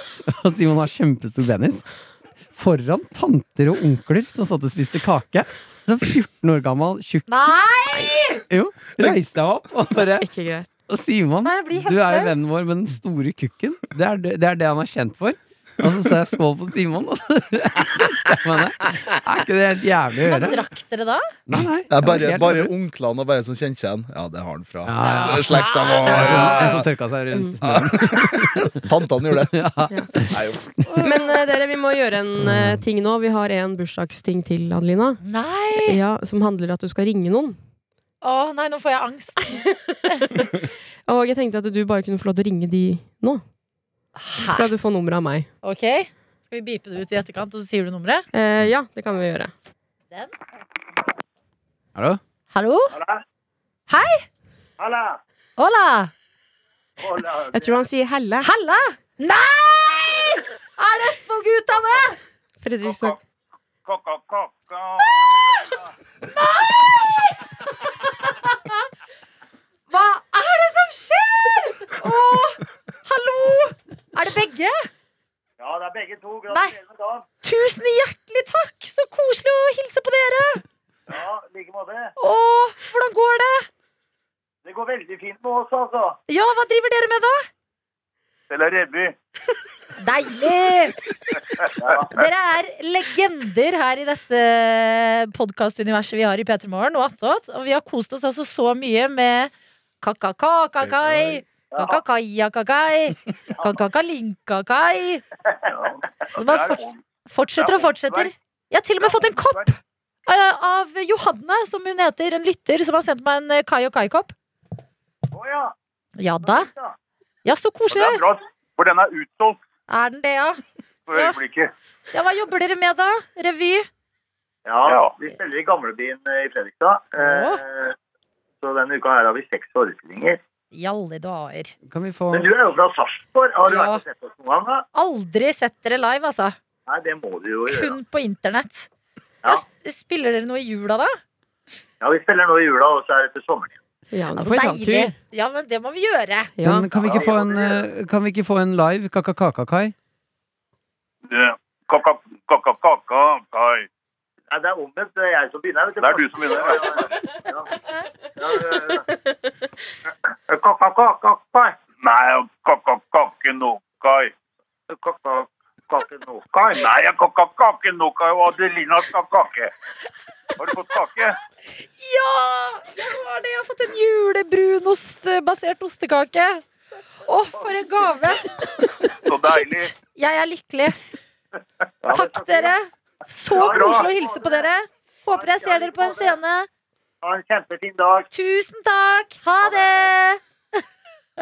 S7: og Simon har kjempestor penis. Foran tanter og onkler som satt og spiste kake. Så 14 år gammel, tjukk,
S2: Nei!
S7: jo, reiste jeg meg opp og bare
S4: Ikke greit.
S7: og Simon,
S2: Nei, jeg blir helt
S7: du er jo
S2: flau.
S7: vennen vår med den store kukken. Det er det, det er det han er kjent for. Og så sa jeg skål på Simon. Og så setter jeg meg ned. Er ikke det helt jævlig å
S2: Hva
S7: gjøre?
S2: drakk dere da?
S7: Nei,
S6: Det
S7: nei.
S6: er
S7: jeg
S6: bare,
S7: var helt
S6: bare
S7: jævlig.
S6: onklene og bare sånn som kjente seg igjen. Ja, det har han fra.
S7: Ja, ja.
S6: Det er Slekta
S7: En
S6: vår.
S7: som- En som tørka seg rundt.
S6: Tantene Mm. gjorde det.
S7: Ja.
S6: Nei, uff.
S4: Men eh, dere, vi må gjøre en eh,
S6: Mm.
S4: ting nå. Vi har en bursdagsting til, Adelina.
S2: Nei!
S4: Ja, som handler om at du skal ringe noen.
S2: Å nei, nå får jeg angst.
S4: Og jeg tenkte at du bare kunne få lov til å ringe de nå. Så
S2: Hæ?
S4: skal du få nummeret av meg.
S2: Ok, skal vi bipe det ut i etterkant, og så sier du nummeret?
S4: Eh, ja, det kan vi gjøre.
S7: Hallo?
S2: Hallo?
S8: Halla!
S2: Hola!
S8: Hola!
S4: Jeg tror han sier helle.
S2: Halla! Nei! Er det Østfold-gutta med?
S4: Fredrikstad.
S8: Koko, koko.
S2: Hva er det som skjer? Å, hallo! Er det begge?
S8: Ja, det er begge to. Gratulerer med dagen.
S2: Tusen hjertelig takk! Så koselig å hilse på dere.
S8: Ja, i like måte.
S2: Å, hvordan går det?
S8: Det går veldig fint med oss, altså.
S2: Ja, hva driver dere med da?
S8: Spiller revy.
S2: Deilig! Dere er legender her i dette podkastuniverset vi har i P3 Morgen og attåt. Og vi har kost oss altså så mye med kakakakai, kakakaiakakai, kakakalinkakai. Det bare fort, fortsetter og fortsetter. Jeg har til og med fått en kopp eh, av Johanne, som hun heter, en lytter, som har sendt meg en eh, Kai og Kai-kopp.
S8: Å ja.
S2: Ja da. Ja, så
S8: Og det er
S2: koselig.
S8: bra, for den er utsolgt
S2: Er den det, ja?
S8: for
S2: Ja.
S8: øyeblikket.
S2: Ja, hva jobber dere med da? Revy?
S8: Ja, vi spiller i Gamlebyen eh, i Fredrikstad. Eh, så denne uka her har vi seks forestillinger.
S2: I alle dager.
S7: Kan vi få
S8: Men du er jo fra Sarpsborg. Har du
S2: Ja.
S8: vært og sett oss noen gang, da?
S2: Aldri sett dere live, altså.
S8: Nei, det må du jo gjøre.
S2: Kun på internett.
S8: Ja.
S2: Ja. s- Spiller dere noe i jula, da?
S8: Ja, vi spiller nå i jula, og så er det til sommeren igjen.
S4: Ja, nå
S2: Altså,
S4: får vi ta en
S2: deilig.
S4: tur.
S2: Ja, men det må vi gjøre.
S4: Ja.
S7: Men kan vi ikke få en, eh, kan vi ikke få en live kakakakakai?
S8: Kaka, kaka, kaka, kai. Nei, det er omvendt. Det er jeg som begynner. Det er du som begynner. Kaka, kaka, kai. Nei, kaka, kake, no, kai. Kaka, kake, no, kai. Nei, kaka, kake, no, kai. Og Adelina skal ha kake. Har du fått kake?
S2: Ja! Jeg har det! Jeg har fått en julebrunostbasert ostekake. Å, for en gave!
S8: Så deilig.
S2: Jeg er lykkelig.
S8: Ja,
S2: Takk, dere. Så
S8: Ja, bra.
S2: koselig å hilse på dere. Håper jeg ser dere på en scene.
S8: Ha en kjempefin dag.
S2: Tusen takk! Ha det!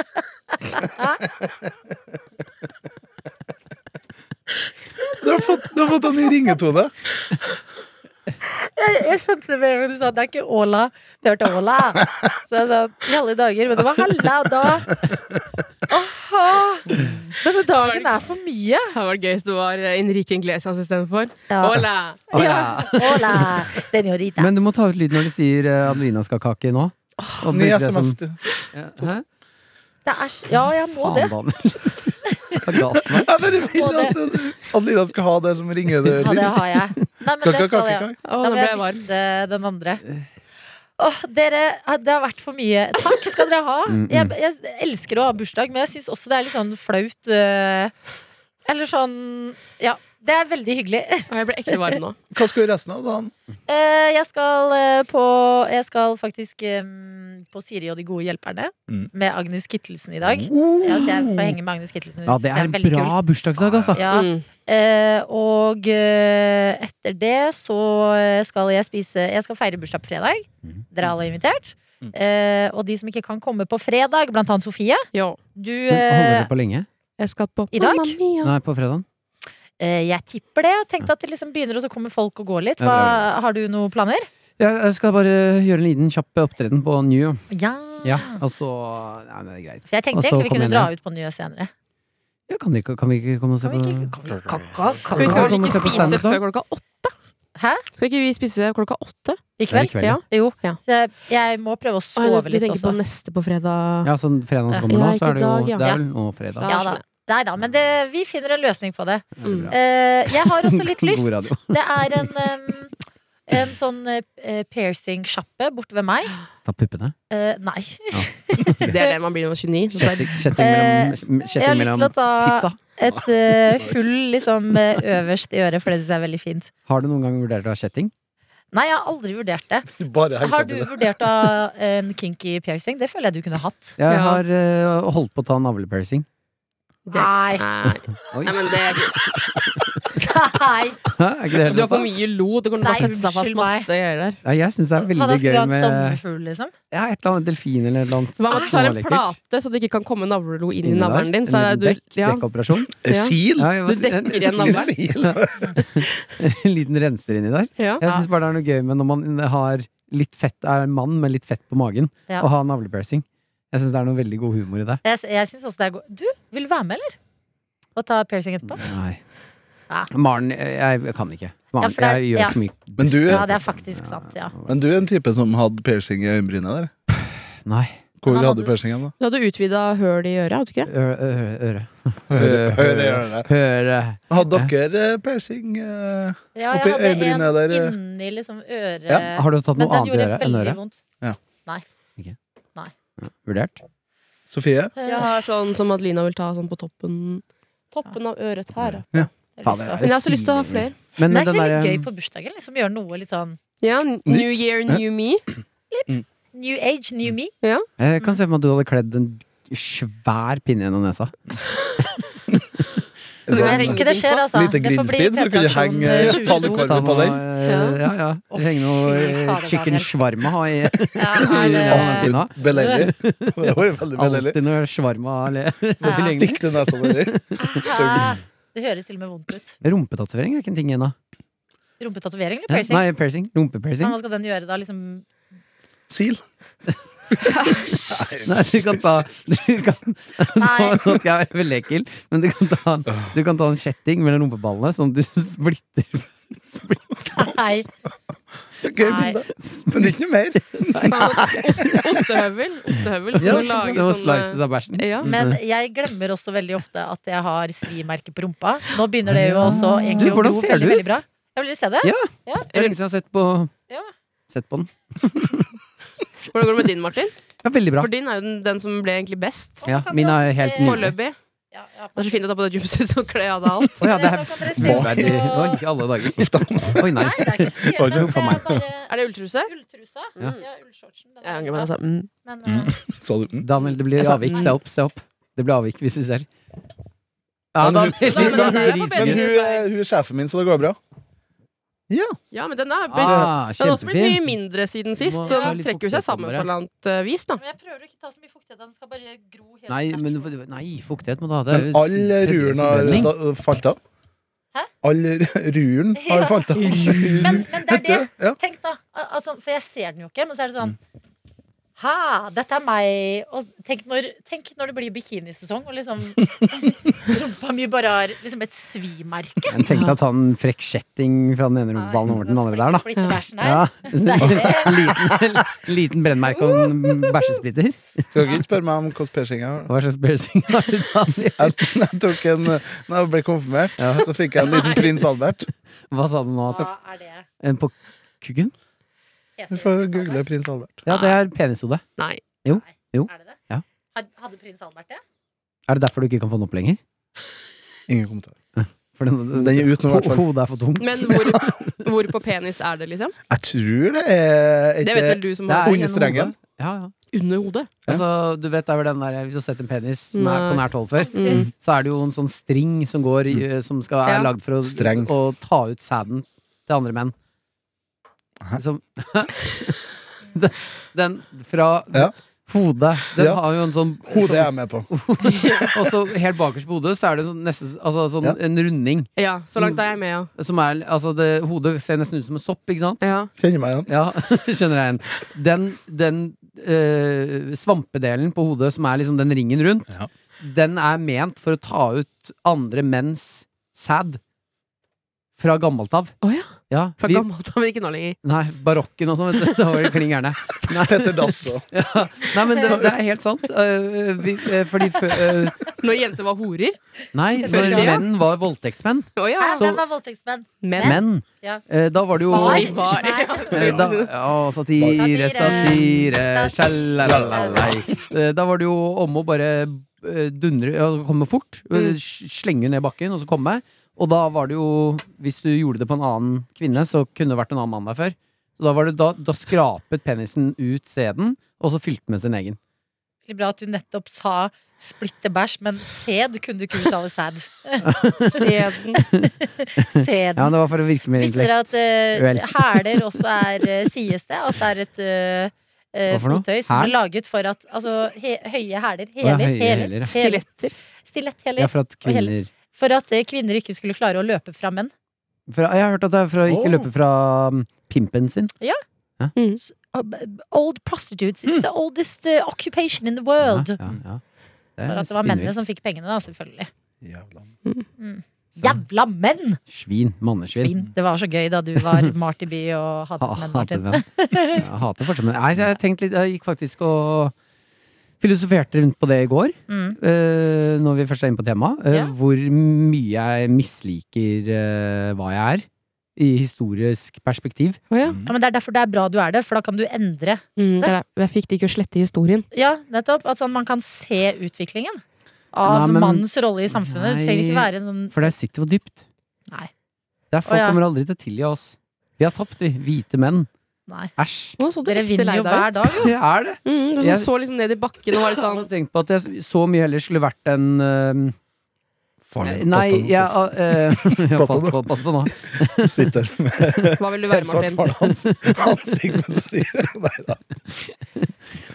S6: Du har fått, du har fått en ny ringetone.
S2: Jeg, jeg skjønte det med en gang du sa det er ikke Åla. Jeg hørte Åla. Så jeg sa i alle dager, men det var Hella da. Aha. Denne dagen er for mye.
S4: Det var gøy hvis du var eh, Enrique Inglesias istedenfor.
S2: Ja.
S4: Hola!
S7: Å,
S2: Ja.
S7: ja.
S2: Åla. Den gjør Rita.
S7: Men du må ta ut lyd når de sier eh, Adelina skal ha kake nå. Og
S6: Ny
S7: bruke det som-
S6: SMS. til-
S7: Ja, Hæ?
S2: Det er, s- ja, jeg må det.
S7: Faen, Daniel. Hva er galt med meg?
S6: Jeg bare vil at Adelina skal ha det som ringelyd.
S2: Ja, det har jeg. Nei, men det skal jeg.
S6: Kakakakakai.
S4: Å,
S2: Da
S4: nå
S2: må
S4: ble
S2: jeg
S4: jeg varm.
S2: bytte den andre. Åh, dere, det har vært for mye. Takk skal dere ha.
S4: Mm,
S2: Jeg, jeg elsker å ha bursdag, men jeg syns også det er litt sånn flaut. øh, Eller sånn Ja, det er veldig hyggelig.
S4: Å, Jeg ble ekte varm nå.
S6: Hva skal du gjøre resten av dagen?
S2: Eh, jeg skal eh, på Jeg skal faktisk em, på Siri og de gode hjelperne
S6: Mm.
S2: med Agnes Kittelsen i dag. Ja, så jeg får henge med Agnes Kittelsen.
S7: Ja, det
S2: synes
S7: er
S2: jeg
S7: en
S2: veldig
S7: bra bursdagsdag, altså.
S2: kul. Ja.
S4: Mm.
S2: Eh, og eh, etter det så eh, skal jeg spise Jeg skal feire bursdag på fredag.
S7: Mhm.
S2: Dere er alle invitert.
S6: Mm.
S2: Eh, og de som ikke kan komme på fredag, blant annet Sofie
S4: Jo.
S2: Du
S7: Men Holder
S2: eh,
S7: dere på lenge?
S4: Jeg skal på
S2: I dag?
S4: Mamma Mia.
S7: Nei, på fredagen?
S2: eh, Jeg tipper det. Tenkte at det liksom begynner, og så kommer folk og går litt.
S7: Ja, bra, bra.
S2: Hva, har du noen planer?
S7: Jeg, jeg skal bare gjøre en liten kjapp opptreden på New.
S2: Ja.
S7: Ja, og så Nei, men det er greit.
S2: For jeg tenkte
S7: Og så
S2: egentlig vi
S7: kom
S2: kunne
S7: igjen,
S2: dra
S7: ja.
S2: ut på Nye senere.
S7: Ja, kan, vi ikke, kan vi ikke komme og se på
S2: Kan vi ikke kan vi- kan- kan- kan-
S4: Vi skal
S7: Kan
S4: vel
S7: vi komme og
S4: ikke
S7: se på
S4: spise
S7: standup da?
S4: før klokka åtte?
S2: Hæ?
S4: Skal ikke vi spise klokka åtte?
S2: I kveld?
S7: kveld,
S4: ja.
S2: Jo.
S4: Ja.
S2: Så jeg, jeg må prøve å sove
S4: du
S2: litt
S4: tenker
S2: også.
S4: på neste på fredag?
S7: Ja, sånn fredag som
S2: Ja,
S7: kommer nå, så
S4: ikke
S7: er det jo
S4: dag, ja.
S7: Det er vel nå fredag.
S4: Ja,
S2: Ja da.
S4: skjønner.
S2: Nei da, men det, vi finner en løsning på det.
S7: Veldig bra.
S2: Eh, jeg har også litt lyst.
S7: God radio.
S2: Det er en, em, en sånn eh, piercing-sjappe borte ved meg.
S7: Ta puppene.
S2: Eh, nei.
S4: Det er det man blir når man er 29. Så det er
S7: Kjetting kjetting
S2: Eh,
S7: mellom,
S2: Jeg har
S7: kjetting
S2: lyst til å
S7: mellom
S2: ta
S7: titsa.
S2: et eh, hull liksom, eh, øverst i øret, for det syns jeg er veldig fint.
S7: Har du noen gang vurdert å ha kjetting?
S2: Nei, jeg har aldri vurdert det.
S6: Bare
S2: Har
S6: helt
S2: du
S6: oppi det.
S2: vurdert av en kinky piercing? Det føler jeg du kunne hatt.
S7: Jeg
S4: Ja.
S7: har eh, holdt på å ta navlepiercing.
S2: Nei.
S4: Nei.
S7: Oi.
S4: Nei, men det
S2: Nei.
S7: Hæ, Er ikke det helt
S4: Du
S7: lov?
S4: har for mye lo. Du kommer til å
S2: Nei,
S4: sette deg fast
S2: unnskyld meg.
S4: masse greier der.
S7: Ja, jeg syns det er
S2: Hva da
S7: veldig gøy
S2: skulle du ha en
S7: med
S2: sommerfugl, liksom?
S7: ja, et eller annet delfin eller et eller annet.
S4: Hva om du tar en
S7: smålekkert
S4: plate, så det ikke kan komme navlelo inn i
S7: inni der.
S4: navlen din?
S7: En
S4: Så er
S7: liten
S4: du,
S7: dekk,
S4: ja.
S7: dekkoperasjon.
S4: Ja.
S6: Sil?
S7: Ja, jeg var-
S4: du dekker igjen
S7: en-
S6: Sil?
S4: navlen.
S7: En liten renser inni der.
S4: Ja.
S7: Jeg syns bare det er noe gøy med når man har litt fett, er en mann med litt fett på magen,
S2: Ja.
S7: og har navlepiercing. Jeg syns det er noe veldig god humor i det.
S2: Jeg, jeg synes også det er god Du, vil du være med, eller? Og ta piercing etterpå?
S7: Nei.
S4: Ah.
S2: Ja.
S7: Maren, jeg, jeg kan ikke. Maren,
S2: for det er-
S7: jeg gjør
S2: ja.
S7: for mye.
S6: Men du-
S2: Ja, det er faktisk sant, ja.
S6: Men du er en type som hadde piercing i øyenbryna der.
S7: Nei.
S6: Hvor
S2: Han
S6: hadde
S2: hadde-
S6: du piercingen, da?
S4: Du hadde utvida høl i øret, hadde du ikke det?
S7: Øre. øre, øre.
S6: Høre, høre, høre.
S7: Høre.
S6: Hadde dere eh, piercing? eh?
S2: Ja,
S6: Oppi
S2: jeg hadde en
S6: øyenbrynet der, eh.
S2: inni liksom øret
S6: Ja,
S7: Har du tatt
S2: Men
S7: noe
S2: den
S7: annet i
S2: gjorde
S7: øret enn
S2: veldig
S7: øret?
S2: vondt.
S7: Vurdert?
S6: Sofie?
S4: Jeg har sånn som Adelina vil ta sånn på toppen Toppen av øret her. da.
S2: Jeg
S7: Faen, det
S2: husker
S7: er
S2: det.
S4: Men jeg har også lyst til å ha
S7: stilig.
S4: flere.
S7: Men
S2: Nei, det
S7: den
S2: er
S7: der, um,
S2: litt gøy på bursdagen. Liksom gjøre noe litt sånn
S4: Ja, New year, new me.
S2: New age, new me.
S7: Eh, Jeg
S6: Mm.
S7: kan se for meg at du hadde kledd en svær pinne gjennom nesa.
S6: En
S4: Så
S6: sånn-
S2: Men jeg tror ikke det skjer, altså.
S6: Lite
S2: Det får bli
S6: grinspidd, så du kunne
S2: P-traksjon,
S6: henge
S2: eh,
S6: falukorv.
S2: 22.
S6: Varme på den?
S7: Ja, ja. ja.
S2: Å,
S7: Trenger noe
S2: fy
S7: eh,
S2: fader,
S7: chicken
S2: Daniel.
S7: shawarma ha i
S2: Ja, nei, det-
S7: Åh, pinna.
S6: Beleilig. Det var jo veldig beleilig.
S7: Alltid noe shawarma eller
S2: Ja.
S7: i lengden.
S6: Stikk til nesa di.
S2: Ah, Det høres til og med vondt ut.
S7: Rumpetatovering er ikke en ting ennå.
S2: Rumpetatovering eller
S7: Hæ?
S2: piercing?
S7: Nei, piercing.
S2: Men
S7: Rumpepiercing.
S2: Hva skal den gjøre da? Liksom
S6: Sil.
S7: Nei, du kan ta du kan, nå,
S2: Nei.
S7: nå skal jeg være veldig ekkel, men du kan ta, du kan ta en kjetting mellom rumpeballene, sånn at du splitter splitter-
S2: Nei.
S6: Gøy
S2: Nei.
S6: bilde. Men ikke noe mer.
S4: Ostehøvel. Ostehøvel. Så
S7: Ja,
S4: kan du
S7: det
S4: lage
S7: var slices
S4: sånn
S7: av bæsjen. Mm.
S4: ja.
S2: eh, Men jeg glemmer også veldig ofte at jeg har svimerke på rumpa. Nå begynner det jo også egentlig
S7: Du,
S2: å
S7: hvordan
S2: gro
S7: ser
S2: veldig,
S7: det ut?
S2: veldig bra. Jeg vil se det.
S7: Ja. Det er lenge siden jeg har sett på,
S2: Ja.
S7: sett på den.
S4: Hvordan går det med din, Martin?
S7: Ja, veldig bra.
S4: For din er jo den, den som ble egentlig best.
S7: Ja,
S2: kan
S7: min
S2: vi også
S7: er helt
S2: se-
S7: nydelig.
S4: Foreløpig.
S2: Ja, ja.
S4: Det er så fint å ta på deg jumpsuit og kle av deg alt.
S7: Å ja, det
S2: Nå kan dere
S7: er
S2: se også-
S7: veldig Oi, alle dager. Oi, nei.
S2: Nei, det er ikke så
S6: Oi,
S2: mye. Men
S6: det
S2: det
S6: var
S2: er bare
S4: Er det ulltruse?
S2: ulltrusa.
S7: Ja.
S2: Ja, ullshortsen. den
S4: Jeg
S2: er
S4: angrer
S2: bra.
S4: meg, altså. Mm.
S2: Men,
S11: Mm.
S2: eh,
S6: Sa du mm.
S7: Daniel, det blir
S4: sa-
S7: avvik. Se opp, se opp. Det blir avvik hvis vi ser. Ja,
S6: Men hun-
S7: Daniel,
S4: men
S7: Daniel
S4: det er på
S7: riser.
S6: Men hun,
S4: bedre.
S6: er- hun er sjefen min, så det går bra. Ja.
S4: Ja, men den er
S7: Ah,
S4: Den har også blitt mye
S7: kjempefin.
S4: mindre siden sist,
S7: Må
S4: så
S7: ta
S4: den
S7: litt
S4: trekker jo seg
S7: fuktighet
S4: sammen på et
S7: framover,
S4: eller annet eh, vis, da.
S2: men jeg prøver å ikke ta så mye fuktighet. Den skal bare gro helt
S7: Nei,
S2: naturlig.
S7: men, nei, fuktighet må du ha. Det er
S6: Men
S7: jo
S6: all ruren har
S7: tredje forbrenning.
S6: da- falt av.
S2: Hæ?
S6: All ruren har
S2: Ja.
S6: falt av.
S2: men, men det er det.
S6: Ja.
S2: Tenk da, al- altså, for jeg ser den jo ikke, men så er det sånn Hæ, dette er meg. Og tenk når, tenk når det blir bikinisesong, og liksom rumpa mi bare har liksom et svimerke.
S7: Jeg tenkte å ta en frekk kjetting fra den ene rumpeballen over til den andre der, da.
S2: Splitter bæsjen her.
S7: Ja.
S2: Deilig.
S7: Liten, liten brennmerke og en bæsjesplitter.
S6: Skal dere ikke spørre meg om hvordan piercing jeg har?
S7: Hva slags piercing har du, Daniel?
S6: Jeg, jeg tok en, når jeg ble konfirmert, så fikk jeg en liten prins Albert.
S7: Hva sa du nå?
S2: Hva er det?
S7: En på kukken?
S2: Heter
S6: Du får
S2: det prins
S6: google
S2: Albert?
S6: prins Albert.
S7: Ja, det er penishode.
S4: Nei.
S7: Jo.
S2: Er det det?
S7: Ja.
S2: Had- Hadde prins Albert det?
S7: Er det derfor du ikke kan få den opp lenger? Hm.
S6: Ingen kommentar.
S7: For den,
S6: Den er ut nå, i hvert fall.
S7: hodet er for tungt.
S4: Men hvor, hvor på penis er det, liksom?
S6: Jeg tror det er
S4: Det vet vel
S6: ikke
S4: du som
S7: Det er
S4: har
S6: Under strengen.
S7: Ja, ja.
S4: under hodet.
S7: Altså, du vet det er vel den der Hvis du har sett en penis nær, på
S4: Nei.
S7: nært hold før,
S4: Mm.
S7: så er det jo en sånn string som går i- Som skal, er
S4: Ja.
S7: lagd for å,
S6: Mm. Streng.
S7: å ta ut sæden til andre menn.
S6: Hæ?
S7: Som den, den fra
S6: Ja.
S7: hodet Den
S6: Ja.
S7: har jo en sånn
S6: Hodet er jeg med på.
S7: Og så helt bakerst på hodet så er det sånn, nesten, altså, sånn
S6: Ja.
S7: en runding.
S4: Ja, så langt er jeg med, ja.
S7: Som er, altså, det, hodet ser nesten ut som en sopp, ikke sant?
S4: ja.
S6: Kjenner meg igjen.
S7: Ja, skjønner jeg igjen. Den, den eh, svampedelen på hodet som er liksom den ringen rundt,
S11: Ja.
S7: den er ment for å ta ut andre menns sæd. Fra gammelt av.
S4: Å ja.
S7: Ja,
S4: Fra
S7: vi-
S4: gammelt av, men ikke nå lenger.
S7: Nei, barokken og sånn, vet du. Da var det kling gærne. Nei.
S6: Petter Dass og
S7: Ja. Nei, men det, det er helt sant. Eh, vi, eh, fordi fø- eh,
S4: Når jenter var horer.
S7: Nei, når
S4: Ja.
S7: menn var voldtektsmenn.
S4: Å ja.
S2: Hæ,
S7: Så-
S2: Hvem var voldtektsmenn?
S4: Men,
S7: Menn.
S2: Ja.
S7: eh, Da var det jo
S4: Var.
S7: eh,
S4: Var.
S2: Nei.
S7: da, å, satire,
S2: Satire.
S7: satire,
S2: Sjalalala.
S7: sjalalala. Eh, Da var det jo om å bare eh, dundre ja, Komme fort.
S2: Mm.
S7: eh, s- Slenge ned bakken, og så komme. Og da var det jo Hvis du gjorde det på en annen kvinne, så kunne det vært en annen mann der før. Så da, var det, da, da skrapet penisen ut sæden, og så fylte den med sin egen.
S2: Veldig bra at du nettopp sa splitte bæsj, men sæd kunne du ikke uttale sæd.
S4: Seden.
S2: Sæden.
S7: Ja, det var for å virke mer
S2: Visste
S7: intellekt.
S2: dere at eh,
S7: Vel.
S2: hæler også er eh, sies det? At det er et eh, eh,
S7: Hva for noe?
S2: fottøy som
S7: Hæl?
S2: ble laget for at Altså he, høye hæler.
S7: ja,
S2: Hæler.
S7: høye hæler, ja.
S2: Hæler. hæler.
S4: Stiletter.
S2: Stiletthæler.
S7: Ja, for at
S2: hele-
S7: kvinner
S2: For at eh, kvinner ikke skulle klare å løpe fra menn.
S7: fra, Jeg har hørt at det er for å ikke
S6: Åh.
S7: løpe fra mm, pimpen sin.
S2: Uh, b- Old prostitutes. It's the oldest eh, occupation in the world.
S7: Ja, ja, ja. Det
S2: For
S7: er
S2: at det var mennene
S7: spinnvilt.
S2: som fikk pengene, da, selvfølgelig.
S6: Jævla.
S2: Mm. Jævla menn!
S7: Svin. Mannesvin.
S2: Finn. Det var så gøy da du var Marty B og hadde
S7: Ha-
S2: menn,
S7: Hater
S2: Martin.
S7: menn. Ja, hater fortsatt menn. Nei, så jeg, har tenkt litt, jeg gikk faktisk og filosoferte rundt på det i går,
S2: Mm.
S7: eh, når vi først er inne på temaet. eh,
S2: Ja.
S7: Hvor mye jeg misliker eh, hva jeg er, i historisk perspektiv.
S4: Å ja.
S2: Ja, men Det er derfor det er bra du er det, for da kan du endre.
S4: Mm, der er- jeg fikk det ikke å slette historien.
S2: Ja, nettopp. At sånn, man kan se utviklingen av
S7: Nei, men-
S2: mannens rolle i samfunnet. Du trenger ikke
S7: Nei.
S2: være en sånn
S7: For der sitter hvor dypt.
S2: Nei.
S7: Der folk
S2: Å, ja.
S7: kommer aldri til å tilgi oss. Vi har tapt, vi. Hvite menn.
S2: Nei.
S7: Æsj.
S4: Nå så du
S2: Dere
S4: riktig
S2: vinner
S4: lei
S2: jo
S4: deg ut.
S2: hver dag.
S7: Det er det.
S4: Mm, du så,
S7: Jeg-
S4: så liksom ned i bakken og var litt
S7: Jeg
S4: sånn
S7: hadde tenkt på at jeg så mye heller skulle vært en øhm,
S6: Farlig.
S7: Nei,
S6: Påstand.
S7: jeg øh, ja,
S6: Pass
S7: pass,
S6: deg
S7: på, pass på nå.
S6: Sitter med
S4: Hva vil du være,
S6: helt svart
S4: Martin?
S6: farlig ansikt mens du sier Nei da.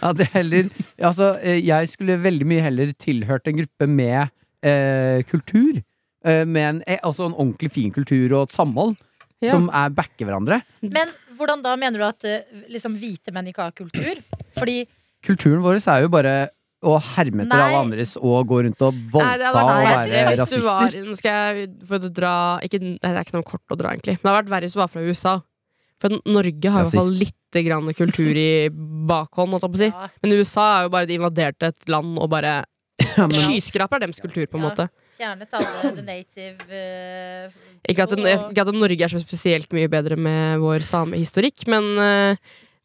S7: At jeg heller Altså, øh, jeg skulle veldig mye heller tilhørt en gruppe med øh, kultur. øh, med en, eh, altså en ordentlig fin kultur og et samhold
S4: Ja.
S7: som er backer hverandre.
S2: Men hvordan da mener du at eh, liksom, hvite menn ikke har kultur? Fordi
S7: Kulturen vår er jo bare å herme etter
S2: Nei.
S7: alle andres og gå rundt og
S4: Nei,
S7: voldta
S4: det hadde vært
S7: og
S4: verre
S7: være
S4: hvis du var
S7: rasister.
S4: Nå skal jeg for å dra ikke, nei, Det er ikke noe kort å dra, egentlig. Men det hadde vært verre hvis du var fra USA. For Norge har i hvert fall
S7: Rasist.
S4: lite grann kultur i bakhånd, holdt jeg på å si.
S2: ja,
S4: Men USA er jo bare de invaderte et land og bare
S7: Ja, men-
S4: Skyskraper er deres kultur, på en
S2: Ja.
S4: måte.
S2: fjernet alle the native eh,
S4: Ikke at,
S2: og-
S4: ikke at Norge er så spesielt mye bedre med vår samehistorikk, men eh,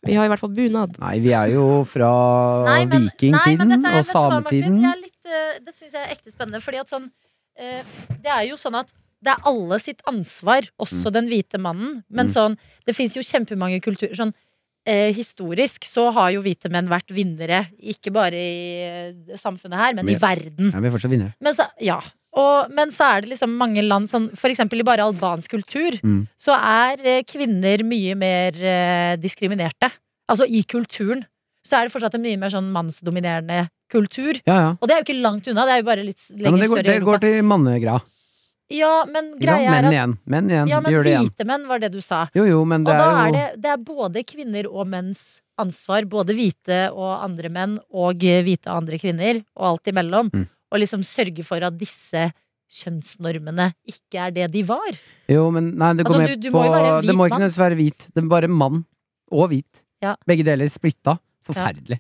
S4: vi har i hvert fall bunad.
S7: Nei, vi er jo fra
S2: Nei, men- nei, men
S7: vikingtiden
S2: dette
S7: og
S2: er- vet du hva, Martin?
S7: sametiden.
S2: Det, er litt, eh, det syns jeg er ekte spennende. Fordi at sånn, eh, det er jo sånn at det er alle sitt ansvar, også den hvite mannen. Men
S7: Mm.
S2: sånn, det fins jo kjempemange kulturer. Sånn, eh, historisk så har jo hvite menn vært vinnere, ikke bare i eh, samfunnet her, men
S7: Men-
S2: i verden.
S7: Ja, vi er fortsatt vinnere.
S2: Men så, ja. Og, men så er det liksom mange land sånn, For eksempel i bare albansk kultur
S7: Mm.
S2: Så er eh, kvinner mye mer eh, diskriminerte Altså i kulturen Så er det fortsatt en mye mer sånn mannsdominerende kultur
S7: Ja, ja.
S2: Og det er jo ikke langt unna Det er jo bare litt
S7: ja men
S2: lenger
S7: det, går,
S2: sør i
S7: det går
S2: Europa
S7: til mannegrad.
S2: Ja, men
S7: Ikke sant?
S2: greia
S7: Menn
S2: er at
S7: igjen. Menn igjen.
S2: Ja, men
S7: vi gjør det igjen.
S2: hvite menn var det du sa
S7: Jo, jo, men
S2: Og
S7: det
S2: da
S7: er
S2: er
S7: jo
S2: det, det er både kvinner og menns ansvar Både hvite og andre menn Og eh, hvite og andre kvinner Og alt imellom
S7: Mm.
S2: Og liksom sørge for at disse kjønnsnormene ikke er det de var
S7: Jo, men nei, det går
S2: Altså,
S7: med
S2: du- du
S7: på
S2: må jo være hvit
S7: Det må ikke
S2: mann.
S7: nødvendigvis være hvit. Det er bare mann og hvit.
S2: Ja.
S7: Begge deler splitta. Forferdelig.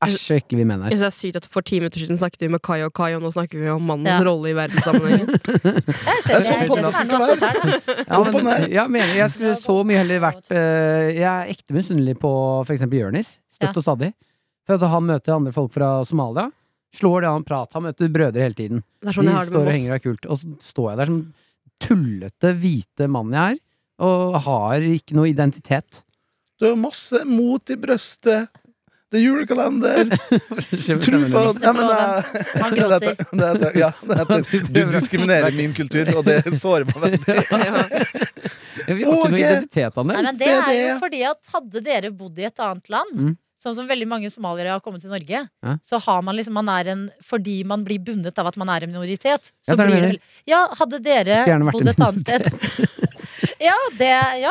S7: Æsj, så ekle vi menn
S4: Jeg
S7: er.
S4: synes det er sykt at For ti minutter siden snakket vi med Kai og Kai, og nå snakker vi om
S2: Ja.
S4: mannens rolle i verdenssammenhengen.
S2: Jeg
S6: Det
S2: ser
S6: er sånn
S2: det.
S6: podden
S2: Det er
S6: skal
S2: sånn at det er det.
S7: Ja,
S6: Opp og
S7: men,
S6: ned.
S7: ja, men jeg skulle så mye heller vært eh, Jeg er ekte misunnelig på f.eks. Jonis. Støtt
S2: Ja.
S7: og stadig. For at han møter andre folk fra Somalia. Slår det an prat. Han møter brødre hele tiden.
S4: Det er sånn
S7: De
S4: jeg har det
S7: står
S4: med
S7: og
S4: Moss.
S7: henger og er kult. Og så står jeg der som tullete, hvite mann jeg er, og har ikke noe identitet.
S6: Du har masse mot i brøstet. Det er julekalender. Tro på
S7: Tror
S6: Nei, men det er-
S2: Han gråter.
S6: det er- det er- Ja, det heter Du diskriminerer min kultur, og det sårer meg veldig.
S7: Vi har ikke noe
S6: Åge!
S7: identitet,
S2: Nei,
S7: Anne.
S2: men det er jo
S6: det.
S2: fordi at hadde dere bodd i et annet land,
S7: Mm.
S2: sånn som veldig mange somaliere har kommet til Norge,
S7: Ja.
S2: så har man liksom man er en Fordi man blir bundet av at man er en minoritet, så
S7: Ja, det er det jeg
S2: blir det
S7: mener.
S2: vel Ja, hadde dere
S7: Skulle gjerne vært
S2: bodd
S7: en
S2: et annet sted Ja, det Ja.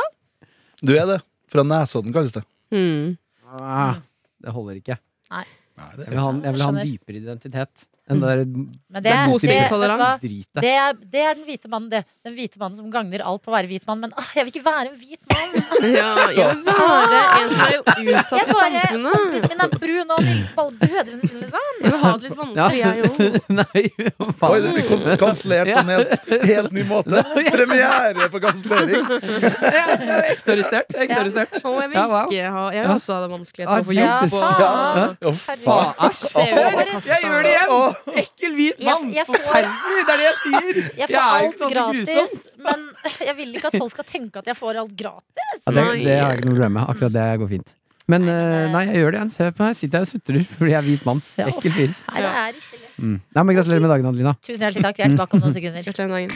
S6: Du er det. Fra Nesodden, kalles det.
S4: Mm.
S12: Hmm.
S7: Ah, Det holder ikke.
S2: Nei. Mm.
S7: Jeg vil ha, en- jeg vil ha en dypere identitet. Den der
S2: Men det, er-
S12: to
S2: det,
S12: sider
S2: vet du hva?
S7: drit der.
S2: det, er, det er den hvite mannen, det. Den hvite mannen som gagner alt på å være hvit mann. Men ah, jeg vil ikke være en hvit mann!
S12: Ja, jeg vil være en som er
S2: Jeg
S12: utsatt i
S2: bare,
S12: samfunnet.
S2: Kompisen min er brun, og Nils Balle brødrene sine, liksom.
S12: Jeg vil ha det litt vanskelig, jeg òg.
S7: Nei, hva
S13: Oi, det
S7: faen.
S13: blir kon- kansellert på en helt, helt ny måte. Premiere på kansellering.
S7: Ekte arrestert. Ekte
S2: Ja.
S7: arrestert.
S12: Jeg vil
S7: Ja, wow.
S12: ikke ha Jeg vil også ha det vanskelig
S7: Ja,
S14: Ah,
S12: etter å få jobb.
S2: Ah, Jesus.
S12: og-
S13: Ja. Å, faen.
S2: Jeg,
S7: Jeg gjør det igjen! Ekkel hvit
S2: Jeg-
S7: mann!
S2: jeg får-
S7: Forferdelig! Det er det jeg sier!
S2: jeg
S7: Jeg er
S2: får alt
S7: ikke noe
S2: gratis, men jeg vil ikke at folk skal tenke at jeg får alt gratis.
S7: Ja, det, det har jeg ikke noe problem med. Akkurat det går fint. Men eh, nei, jeg gjør det igjen. Hør på meg, jeg sitter jeg og sutrer fordi jeg er hvit mann.
S2: Ja.
S7: Ekkel fyr.
S2: Nei, det er ikke lett.
S7: Mm. Nei, men gratulerer med dagen, Adelina.
S2: Tusen hjertelig takk. Vi er tilbake om noen sekunder.
S12: Gratulerer med dagen.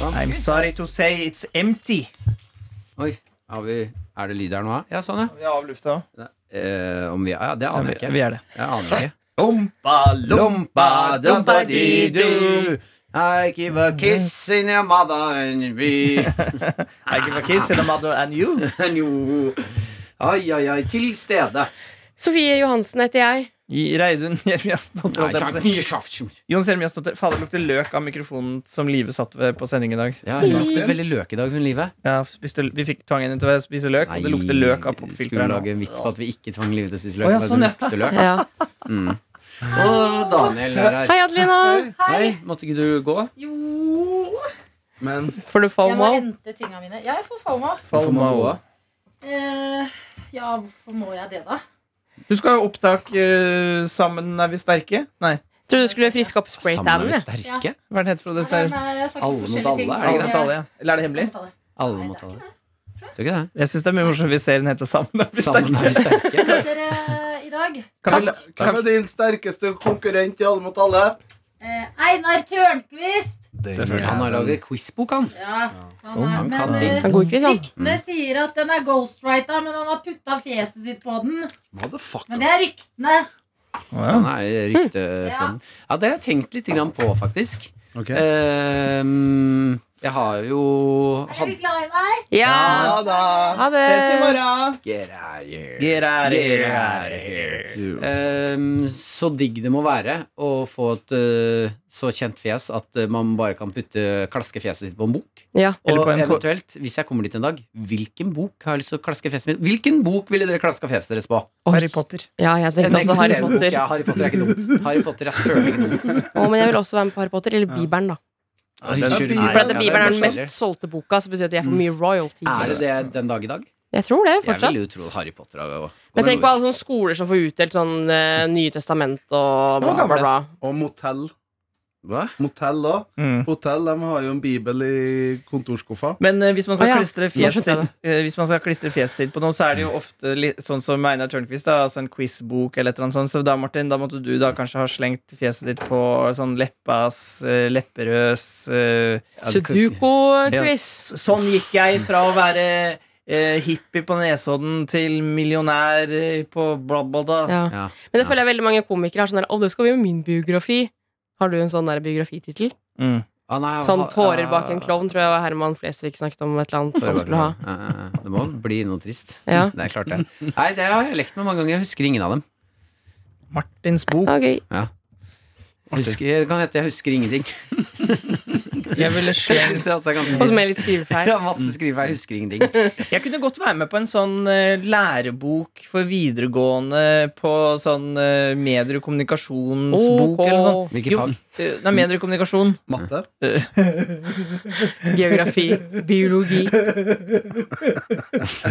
S14: I'm sorry to say it's
S7: Mm.
S14: empty.
S7: Oi, har vi, er det lyd her nå? Ja, sånn, ja.
S14: Vi er av lufta.
S7: Eh, om vi, ja, det aner jeg ikke.
S14: Vi er det.
S7: Jeg aner ikke.
S14: Ompa, lompa,
S7: dumpa-di-du. I give a kiss in your mother and be
S14: I give a kiss to the mother and you.
S7: and you. Ai, ai, ai. Til stede.
S4: Sofie Johansen heter jeg.
S14: I Reidun Jeremiassen. holdt jeg på å si. Jon Jeremiassen. holdt jeg- Fader, det lukter løk av mikrofonen som Live satt ved på sending i dag.
S7: Ja, hun lukter veldig løk i dag, hun Live.
S14: Ja, spiste, vi fikk tvangen henne til å spise løk, og det lukter løk av popfilteret.
S7: Skulle
S14: nå.
S7: lage en vits på at vi ikke tvang Live til å spise løk.
S14: Å, ja,
S7: men at
S14: sånn,
S7: hun
S14: ja.
S7: lukter løk.
S4: Ja.
S7: Mm. Og Daniel er her.
S4: Hei, Adelina.
S7: Hei. Måtte ikke du gå?
S8: Jo
S6: Men
S4: Får du
S8: Jeg må
S4: FOMO?
S8: hente tinga mine. Ja, jeg får falma.
S7: Hvorfor må du gå?
S8: Eh, ja, hvorfor må jeg det, da?
S14: Du skal ha opptak eh, 'Sammen er vi sterke'? Nei,
S4: Tror du du skulle friske opp
S7: Sammen er
S4: spraytannen?
S7: vi
S4: jeg.
S7: sterke.
S14: hva er den het for det? Er,
S8: Nei,
S4: altså,
S8: jeg snakker
S7: Alle mot
S8: forskjellige ting,
S7: alle,
S8: så-
S14: er det
S7: det?
S14: ikke den tale, ja? Eller er det hemmelig?
S8: Alle.
S7: Alle
S8: Nei,
S7: må
S8: det
S7: ta
S8: er
S7: det.
S8: ikke
S7: Tror ikke det.
S14: Jeg syns det er mye morsomt hvis serien heter 'Sammen er vi
S7: Sammen
S14: sterke'.
S7: er vi sterke.
S8: Dere eh, i dag
S14: Kan vi, la-
S6: hvem
S14: kan,
S6: er din sterkeste konkurrent i Alle mot alle?
S8: eh, Einar Tørnquist!
S7: Han har laget quizbok, han.
S8: Ja, han
S7: Om
S8: er,
S7: han kan
S8: men
S7: ting.
S8: eh,
S4: Han går ikke vidt, han.
S8: ryktene sier at den er ghostwriter, men han har putta fjeset sitt på den. Men det er ryktene.
S7: Han er i ryktefronten. Ja, det har jeg tenkt litt grann på, faktisk. Ehm, jeg har jo
S8: Er du glad i meg?
S4: Ja.
S14: ja da.
S4: Ha det.
S14: Ses i morgen.
S7: Get out of here.
S14: Get out of
S7: Get
S14: here.
S7: out of here. Ehm, så digg det må være å få et eh, så kjent fjes at eh, man bare kan putte klaske fjeset sitt på en bok.
S4: Ja.
S7: Og
S14: Eller på en ko-
S7: eventuelt, hvis jeg kommer dit en dag, hvilken bok har jeg lyst til å klaske fjeset mitt Hvilken bok ville dere klaska fjeset deres på?
S14: Harry Potter.
S4: ja, jeg
S7: En
S4: tenkte også Harry
S7: eksisterende bok.
S4: Potter.
S7: Ja, Harry Potter er ikke dumt. Harry Potter er søren ikke dumt.
S4: Å, men jeg vil også være med på Harry Potter, eller Bibelen, da.
S7: Oi,
S6: den-
S7: unnskyld.
S6: Nei,
S4: For at
S6: ja,
S4: Bibelen er den
S7: morsomt.
S4: mest solgte boka, så betyr det at jeg får mye
S7: Er det
S4: royalties.
S7: det den dag i dag?
S4: Jeg tror det,
S7: Jeg
S4: fortsatt.
S7: ville jo tro at Harry Potter har gått
S4: Men tenk på alle sånne skoler som får utdelt sånn eh, Nye testament og bla, bla, bla.
S6: Og motell.
S7: Hva?
S6: Motell òg.
S14: Mm.
S6: Hotell de har jo en bibel i kontorskuffa.
S14: Men eh, hvis man
S4: Å,
S14: skal
S4: ja.
S14: klistre fjeset
S4: skjønte jeg
S14: sitt eh, Hvis man skal klistre fjeset sitt på noe, så er det jo ofte litt sånn som Einar Tørnquist, da, altså en quizbok eller et eller annet sånt. Så da, Martin, da måtte du da kanskje ha slengt fjeset ditt på sånn leppas, eh, lepperøs eh,
S4: Sudoku-quiz.
S14: Sånn gikk jeg fra å være eh, hippie på Nesodden til millionær eh, på Blablabla.
S4: Ja.
S7: Ja.
S4: Men det føler jeg veldig mange komikere har sånn der Å, det skal bli jo min biografi. Har du en sånn der biografitittel?
S14: Mm.
S7: Ah, nei, jeg
S4: Sånn
S7: har-
S4: 'Tårer bak en klovn', tror jeg var Herman Flesvig snakket om et eller annet han skulle ha.
S7: Ja, ja, ja. Det må bli noe trist.
S4: Ja.
S7: Det er klart, det. Nei, det har jeg lekt med mange ganger. Jeg husker ingen av dem.
S14: Martins bok.
S4: Det var gøy.
S7: Husker, det kan hete 'Jeg husker ingenting'.
S14: Jeg ville slengt
S7: Det er altså ganske
S4: Og så med litt skrivefeil.
S7: Ja, masse skrivefeil. Jeg husker ingenting.
S14: Jeg kunne godt være med på en sånn eh, lærebok for videregående på sånn eh, medier- og kommunikasjonsbok
S4: OK.
S14: eller noe sånt.
S7: Hvilket
S14: Jo,
S7: fag?
S14: eh, Nei, medier- og kommunikasjon.
S6: Matte.
S4: Geografi. Biologi.
S14: Nei,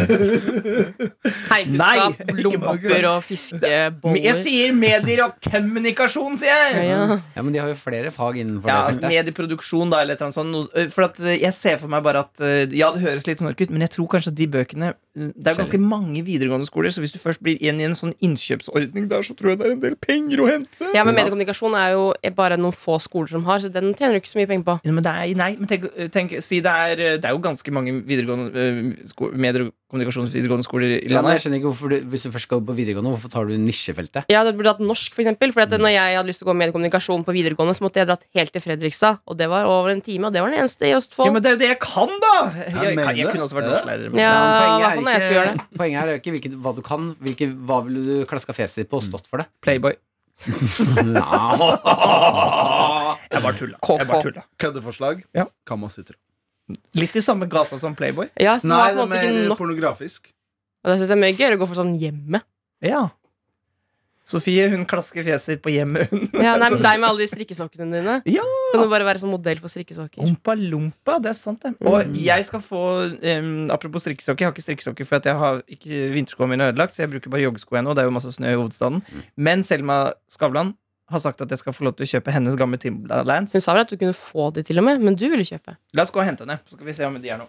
S4: Heikunnskap,
S14: ikke
S4: lommepapir og
S14: Men Jeg
S4: fiskeboller.
S14: sier medier og kommunikasjon, sier jeg!
S4: Ja.
S7: Ja, men de har jo flere fag innenfor
S14: Ja,
S7: det feltet.
S14: Medieproduksjon, da, eller et eller annet sånt. Noe- eh, For at eh, jeg ser for meg bare at eh, Ja, det høres litt sånn ut, men jeg tror kanskje at de bøkene Det er ganske mange videregående skoler, så hvis du først blir inn i en sånn innkjøpsordning der, så tror jeg det er en del penger å hente.
S4: Ja, men mediekommunikasjon er jo bare noen få skoler som har, så den tjener du ikke så mye penger på.
S14: Ja, men det er, nei, men tenk, tenk si det er Det er jo ganske mange videregående eh, sko, medier- og kommunikasjonsvideregående skoler i
S7: Ja, men jeg
S14: landet.
S7: skjønner ikke hvorfor du, Hvis du først skal på videregående, hvorfor tar du nisjefeltet?
S4: Ja, du burde hatt norsk, for eksempel. For at
S14: Mm.
S4: når jeg hadde lyst til å gå med kommunikasjon på videregående, så måtte jeg dratt helt til Fredrikstad, og det var over en time, og det var den eneste i
S14: Ja,
S4: Østfold.
S14: men det er jo det jeg kan, da! Jeg,
S6: Jeg
S14: kan, jeg
S6: mener
S14: kunne også vært
S6: det.
S14: norsklærer. men-
S4: Ja, i
S7: men
S4: hvert fall når jeg skulle gjøre det.
S7: poenget her er jo ikke hvilket, hva du kan, hvilke, hva ville du klaska fjeset ditt på og stått for det.
S14: Playboy. Jeg bare tulla. Jeg bare tulla.
S6: Køddeforslag?
S14: Ja.
S6: Kamasutra.
S14: Litt i samme gata som Playboy.
S4: Ja, så det
S6: Nei,
S4: var på
S6: det
S4: en
S6: er
S4: måte ikke
S6: mer
S4: nok.
S6: pornografisk.
S4: Og da synes jeg det er mye gøyere å gå for sånn hjemme.
S14: Ja. Sofie hun klasker fjeset sitt på hjemmet, hun.
S4: Ja, nei, men Deg med alle de strikkesokkene dine.
S14: Ja.
S4: Kan du bare være sånn modell for strikkesokker?
S14: Ompa lompa, det er sant,
S4: Mm.
S14: det. Og jeg skal få em, Apropos strikkesokker. Jeg har ikke strikkesokker for at jeg har ikke vinterskoene mine er ødelagt, så jeg bruker bare joggesko ennå. Det er jo masse snø i hovedstaden.
S7: Mm.
S14: Men Selma Skavlan har sagt at jeg skal få lov til å kjøpe hennes gamle Timberlands.
S4: Hun sa vel at du kunne få de til og med, men du ville kjøpe.
S14: La oss gå og hente henne, så skal vi se om de er noe.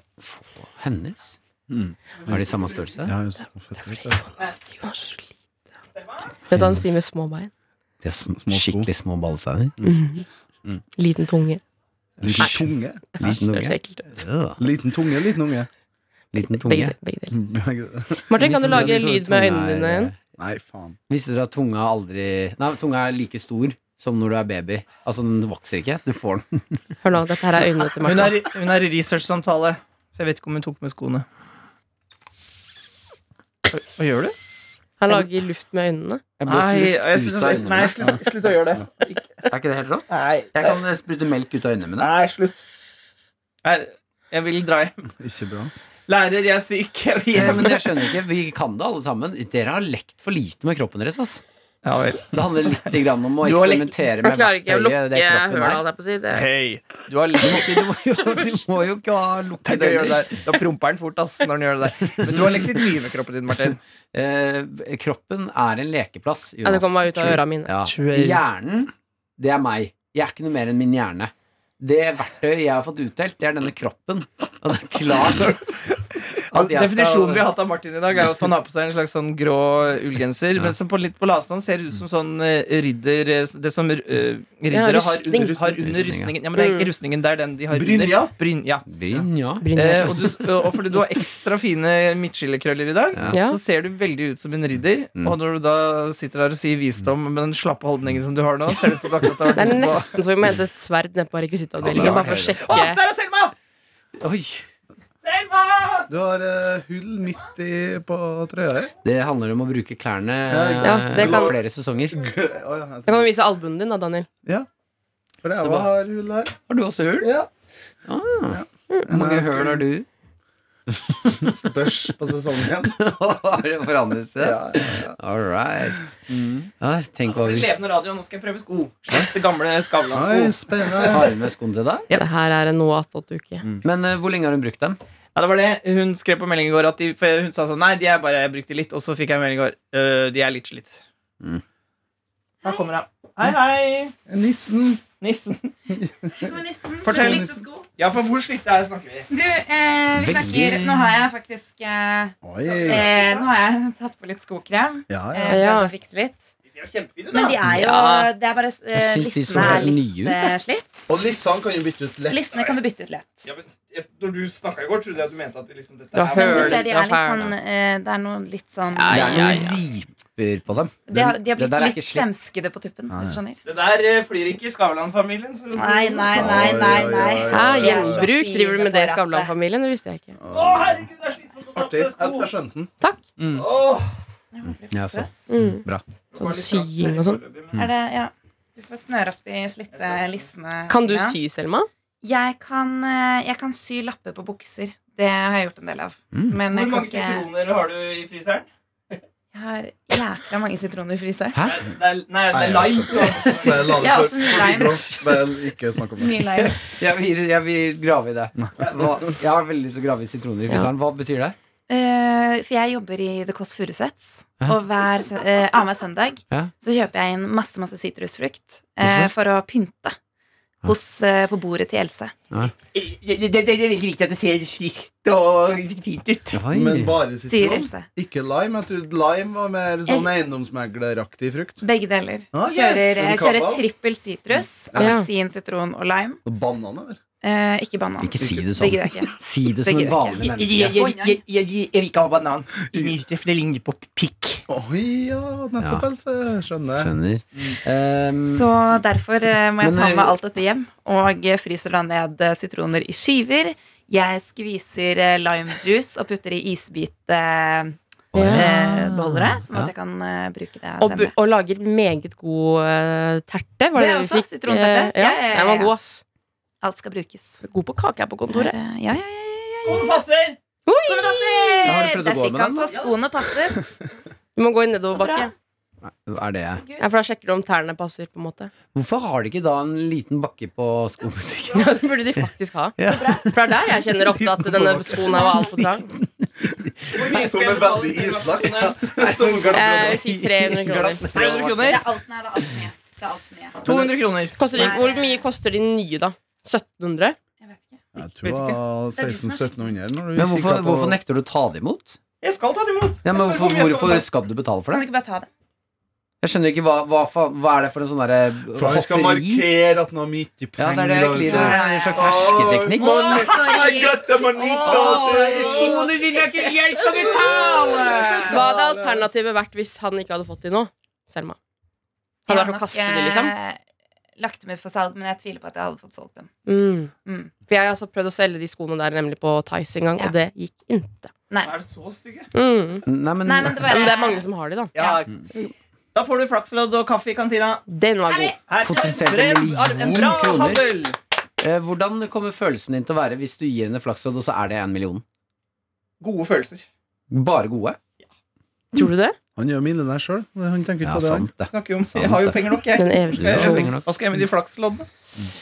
S7: Hennes? Mm. Har de samme størrelse?
S6: Ja, det er fett, vet du.
S4: Vet du hva de sier med små bein?
S7: De er sm- skikkelig små ballsteiner.
S4: Liten tunge.
S6: Mm. Liten tunge.
S7: Liten
S4: Det er så
S7: unge.
S4: ekkelt.
S7: Ja.
S6: Liten tunge, liten unge.
S7: Liten
S4: Begge
S7: tunge.
S4: deler. Begge deler.
S6: Nei,
S4: Martin, kan du
S7: Visste
S4: lage
S7: dere at
S4: lyd
S7: tunga
S4: med øynene
S7: er-
S4: dine igjen?
S6: faen.
S7: Visste dere at tunga aldri Nei, tunga er like stor som når du er baby. Altså, den vokser ikke. Du får den.
S4: Hør nå, dette her er øynene til
S14: Hun
S4: Martin.
S14: er, i- hun er i researchsamtale, så jeg vet ikke om hun tok med skoene. Hva, hva gjør du?
S4: Han lager luft med øynene.
S7: Jeg
S14: Nei, jeg synes det er fint. Nei, slutt, slutt å gjøre det.
S7: Er ikke det helt rått?
S14: Nei,
S7: Jeg kan eh, sprute melk ut av øynene mine.
S14: nei slutt. Nei, jeg vil dra hjem.
S6: Ikke bra.
S14: Lærer, jeg er syk. Jeg vil
S7: Ja,
S14: hjem.
S7: Eh, men jeg skjønner ikke, Vi kan det, alle sammen. Dere har lekt for lite med kroppen deres. ass
S14: Ja vel.
S7: Det handler litt grann om å
S14: Du har lekt-
S7: eksperimentere
S4: Han
S7: med
S4: klarer ikke å lukke
S7: det kroppen
S4: høla,
S7: er.
S4: holdt jeg på å si. Det.
S14: Hei. Du har lekt
S7: Du må jo, du må jo ikke ha
S14: Tenk
S7: lukkede
S14: å gjøre
S7: øyne.
S14: det der. Da promper den fort ass, når den gjør det der. Men du har lekt litt mye med kroppen din, Martin.
S7: Eh, kroppen er en lekeplass.
S4: Ja, det kommer bare ut av
S7: True.
S4: øra mine.
S7: Ja.
S14: True.
S7: Hjernen, det er meg. Jeg er ikke noe mer enn min hjerne. Det verktøyet jeg har fått utdelt, det er denne kroppen. Og det er klart at jeg
S14: Definisjonen vi
S7: skal
S14: har hatt av Martin i dag, er jo at han har på seg en slags sånn grå ullgenser, men som på litt på lavstand ser ut som sånn eh, ridder eh, Det som eh,
S4: Ja,
S14: riddere har,
S4: rustning. Mm.
S14: un- har under
S7: Rustning, ja.
S14: rustningen. Ja, men det er ikke rustningen, det er den de har
S6: Brynja?
S14: under. Brynja.
S7: Brynja.
S14: Eh, og, du, s- og fordi du har ekstra fine midtskillekrøller i dag,
S4: Ja.
S14: så ser du veldig ut som en ridder.
S7: Mm.
S14: Og når du da sitter her og sier visdom med den slappe holdningen som du har nå, ser det ut som du akkurat har
S4: Det
S14: vært ute
S4: er
S14: på
S4: nesten så vi må hente et sverd ned på rekvisittavdelingen.
S7: Ja, det er
S4: Bare for å
S14: Å,
S4: sjekke
S14: der er Selma!
S7: Oi,
S6: Du har eh, hull midt i på trøya her.
S7: det handler om å bruke klærne
S4: Ja,
S7: eh,
S4: det kan-
S7: flere sesonger.
S6: Å, ja, jeg
S4: Da kan
S6: tror-
S4: du vise albuen din, da, Daniel.
S6: For
S7: Så
S6: jeg
S7: bra.
S6: har hull her.
S7: Har du også hull?
S6: Ja.
S7: Ah, Hvor
S6: Nei,
S7: mange
S6: jeg
S7: hull har du?
S6: skulle Spørs på sesongen.
S7: Har det forandret seg?
S6: Ja, ja, ja.
S7: All right. Ja, tenk hva vi
S14: Levende radio, nå skal jeg prøve sko. Slipp det gamle
S6: Oi,
S14: Skavlan-sko.
S6: spennende. Mm.
S7: har med skoene til deg.
S14: Ja.
S4: Det her er en noe attåt-uke.
S7: Men eh, hvor lenge har hun brukt dem?
S14: Ja, det var det. Hun skrev på melding i går at de, for hun sa sånn Nei, de er bare jeg brukte litt. Og så fikk jeg en melding i går. «Øh, de er litt slitt.
S7: Mm.
S14: Her kommer hun. Hei, hei.
S6: Nissen.
S14: Nissen.
S6: Fortell.
S14: Ja, for hvor slitte er snakker vi?
S1: eh,
S7: vi snakker, nå har jeg
S6: Oi.
S1: eh, nå har jeg tatt på litt skokrem.
S6: Ja, ja.
S1: Eh,
S4: Ja.
S1: prøvd å fikse litt.
S14: De ser jo kjempefine ut,
S1: Men de
S14: da.
S1: er jo
S4: Ja.
S1: det er bare, eh,
S7: Jeg synes de så
S1: Lissene er
S7: helt
S1: litt
S7: nye ut,
S1: eh, slitt.
S6: Og lissene kan jo bytte ut lett.
S1: Lissene kan du bytte ut lett.
S14: Ja, men jeg- Når du snakka i går, trodde jeg at du mente at de liksom, dette
S4: Ja,
S14: er-
S1: Men du
S4: hører
S1: ser de
S4: litt av
S1: er litt
S4: færen,
S1: sånn eh, Det er noe litt sånn
S7: Det
S4: Ja,
S7: er
S4: ja,
S7: noen riper på dem.
S1: De har, de har
S7: Det der er
S1: blitt
S7: ikke
S1: litt
S7: slett.
S1: semskede på tuppen. Hvis du skjønner.
S14: Det der eh, flyr ikke i Skavlan-familien. for å si det
S1: Nei,
S14: sånn.
S1: nei, nei, nei. nei.
S6: Oi, oi, oi, oi, oi.
S4: Hæ,
S6: Ja, ja, ja.
S4: gjenbruk? Driver du med det i Skavlan-familien? Det visste jeg ikke.
S14: Å, herregud, det er slitsomt
S6: Artig.
S14: å natte
S6: Jeg tror jeg
S14: sko.
S6: skjønte den. Mm.
S14: Åh.
S7: Ja, så.
S4: Mm.
S7: Bra.
S14: Det var
S4: Sånn
S14: litt
S4: sying og sånn.
S6: Mm.
S1: Er det, Mm. ja. Du får snøre opp de slitte
S14: Jeg skal-
S1: lissene.
S4: Kan du
S1: Ja.
S4: sy, Selma?
S1: Jeg kan, eh, jeg kan sy lapper på bukser. Det har jeg gjort en del av.
S7: Mm.
S1: Men
S14: Hvor
S1: jeg kan
S14: mange
S1: ikke
S14: sitroner har du i fryseren?
S1: Jeg har jækla mange sitroner i fryseren.
S7: Hæ?
S14: Det er, nei, det
S6: Nei, altså.
S14: er
S6: jeg
S14: lime. som er-
S6: Bare la det
S1: Jeg har
S6: for-
S1: også mye
S6: forbi
S1: lime.
S6: blomst. Vel, ikke snakk om det.
S1: Mye limes.
S7: Jeg vil, jeg vil grave i det. Hva, jeg har veldig lyst til å grave i sitroner i fryseren. Hva betyr det?
S1: Eh, For jeg jobber i The Kåss Furuseths.
S7: Ja.
S1: Og hver sø- eh, annenhver søndag
S7: Ja.
S1: så kjøper jeg inn masse masse sitrusfrukt eh,
S7: Hvorfor?
S1: for å pynte hos, eh, på bordet til Else.
S14: Eh, Det, det, det er veldig viktig at det ser friskt og fint ut.
S7: Oi.
S6: Men bare
S1: Sier
S6: sitron?
S1: Else.
S6: Ikke lime? Jeg trodde lime var mer sånn eiendomsmegleraktig frukt.
S1: Begge deler.
S6: Ah, ok.
S1: Kjører, jeg kjører
S6: Kabal.
S1: trippel sitrus.
S4: Ja.
S1: Appelsin, sitron og lime.
S6: Og banan er
S1: Eh, ikke banan.
S7: Ikke si det
S1: Det
S7: sånn.
S1: gidder jeg ikke.
S7: Si det som en vanlig
S14: Jeg,
S7: menneske.
S14: vil ikke ha banan. Det ligner på pikk.
S6: Oi, ja, nettopp,
S7: Ja.
S6: Else. Skjønner.
S7: eh, Skjønner.
S6: Mm.
S7: Um,
S1: Så derfor eh, må jeg
S7: Men,
S1: ta
S7: eh,
S1: med alt dette hjem og eh, fryser da ned eh, sitroner i skiver. Jeg skviser eh, lime juice og putter i isbit eh, eh, beholdere, sånn at jeg kan eh, bruke det
S4: Ah, Og,
S1: senere.
S4: bu- og lager meget god eh, terte. Var det,
S1: Det
S4: det vi
S1: også,
S4: fikk?
S1: sitronterte.
S4: Eh,
S1: Ja,
S4: Ja,
S1: ja, ja,
S4: Den
S1: ja.
S4: var god, ass.
S1: Alt skal brukes. Eh,
S4: God på kake her på kontoret.
S1: Ja, ja, ja.
S14: Skoene passer!
S1: Skoene passer!
S7: Ja, har du prøvd å
S1: Der
S7: gå
S1: fikk
S7: med
S1: han
S7: den,
S1: så
S7: da?
S1: skoene passer.
S4: Du må gå i nedoverbakke.
S7: Er det
S4: Ja, for da sjekker du om tærne passer, på en måte.
S7: Hvorfor har de ikke da en liten bakke på skobutikken?
S4: Ja, det burde de faktisk ha.
S7: Ja.
S4: For det er der jeg kjenner ofte at denne skoen her var altfor trang.
S6: Som en veldig islagt.
S4: Eh, vi sier 300 kroner.
S14: 300 kroner?
S1: Det er alt, nei, det er alt for mye. Det er alt for mye.
S14: 200 kroner.
S4: Koster de, hvor mye koster de nye, da? 1700?
S6: Jeg tror det var
S4: Det er du som er
S6: 1600-1700 når du
S7: Men hvorfor,
S6: kikket på-
S7: hvorfor nekter du å ta det imot?
S14: Jeg skal ta det imot.
S7: Ja, men
S14: Jeg spør
S7: hvorfor,
S14: om jeg skal
S7: hvorfor
S14: betale.
S7: skal du betale for
S1: Kan vi
S7: det?
S1: ikke bare ta det?
S7: Jeg skjønner ikke, hva, hva, fa- hva er det for en sånn derre
S6: For han skal markere at han har mye penger.
S7: Ja, det er det jeg liker. Det er en slags
S6: Å,
S7: hersketeknikk.
S6: money. I got the money.
S7: Skoene dine er ikke Jeg skal betale!
S4: Hva hadde alternativet vært hvis han ikke hadde fått de nå? Selma. Hadde det vært å kaste
S7: eh,
S4: de, liksom?
S1: eh, Lagt dem ut for salg, men jeg tviler på at jeg hadde fått solgt dem.
S4: Mm.
S1: Mm.
S4: For jeg har altså prøvd å selge de skoene der nemlig på Tice en gang,
S1: Ja.
S4: og det gikk inte.
S1: Nei.
S14: Er det så stygge?
S4: Mm.
S7: Nei, men,
S1: Nei, men det var-
S4: Men det er mange som har de, da.
S14: Ja, ikke sant. Da får du flakslodd og kaffe i kantina.
S4: Den var god.
S14: Her.
S7: Potensielt
S14: Bra-
S7: en million
S14: en bra
S7: kroner.
S14: handel!
S7: Eh, Hvordan kommer følelsen din til å være hvis du gir henne flakslodd, og så er det en million?
S14: Gode følelser.
S7: Bare gode?
S4: Tror du det?
S6: Han gjør mine der sjøl. Han tenker
S7: Ja,
S6: på det. han.
S7: sant det.
S14: Snakker jo om Jeg har jo penger nok, jeg.
S4: Den evige
S7: Du har
S14: Eh,
S7: penger nok.
S14: Hva skal jeg med de flaksloddene?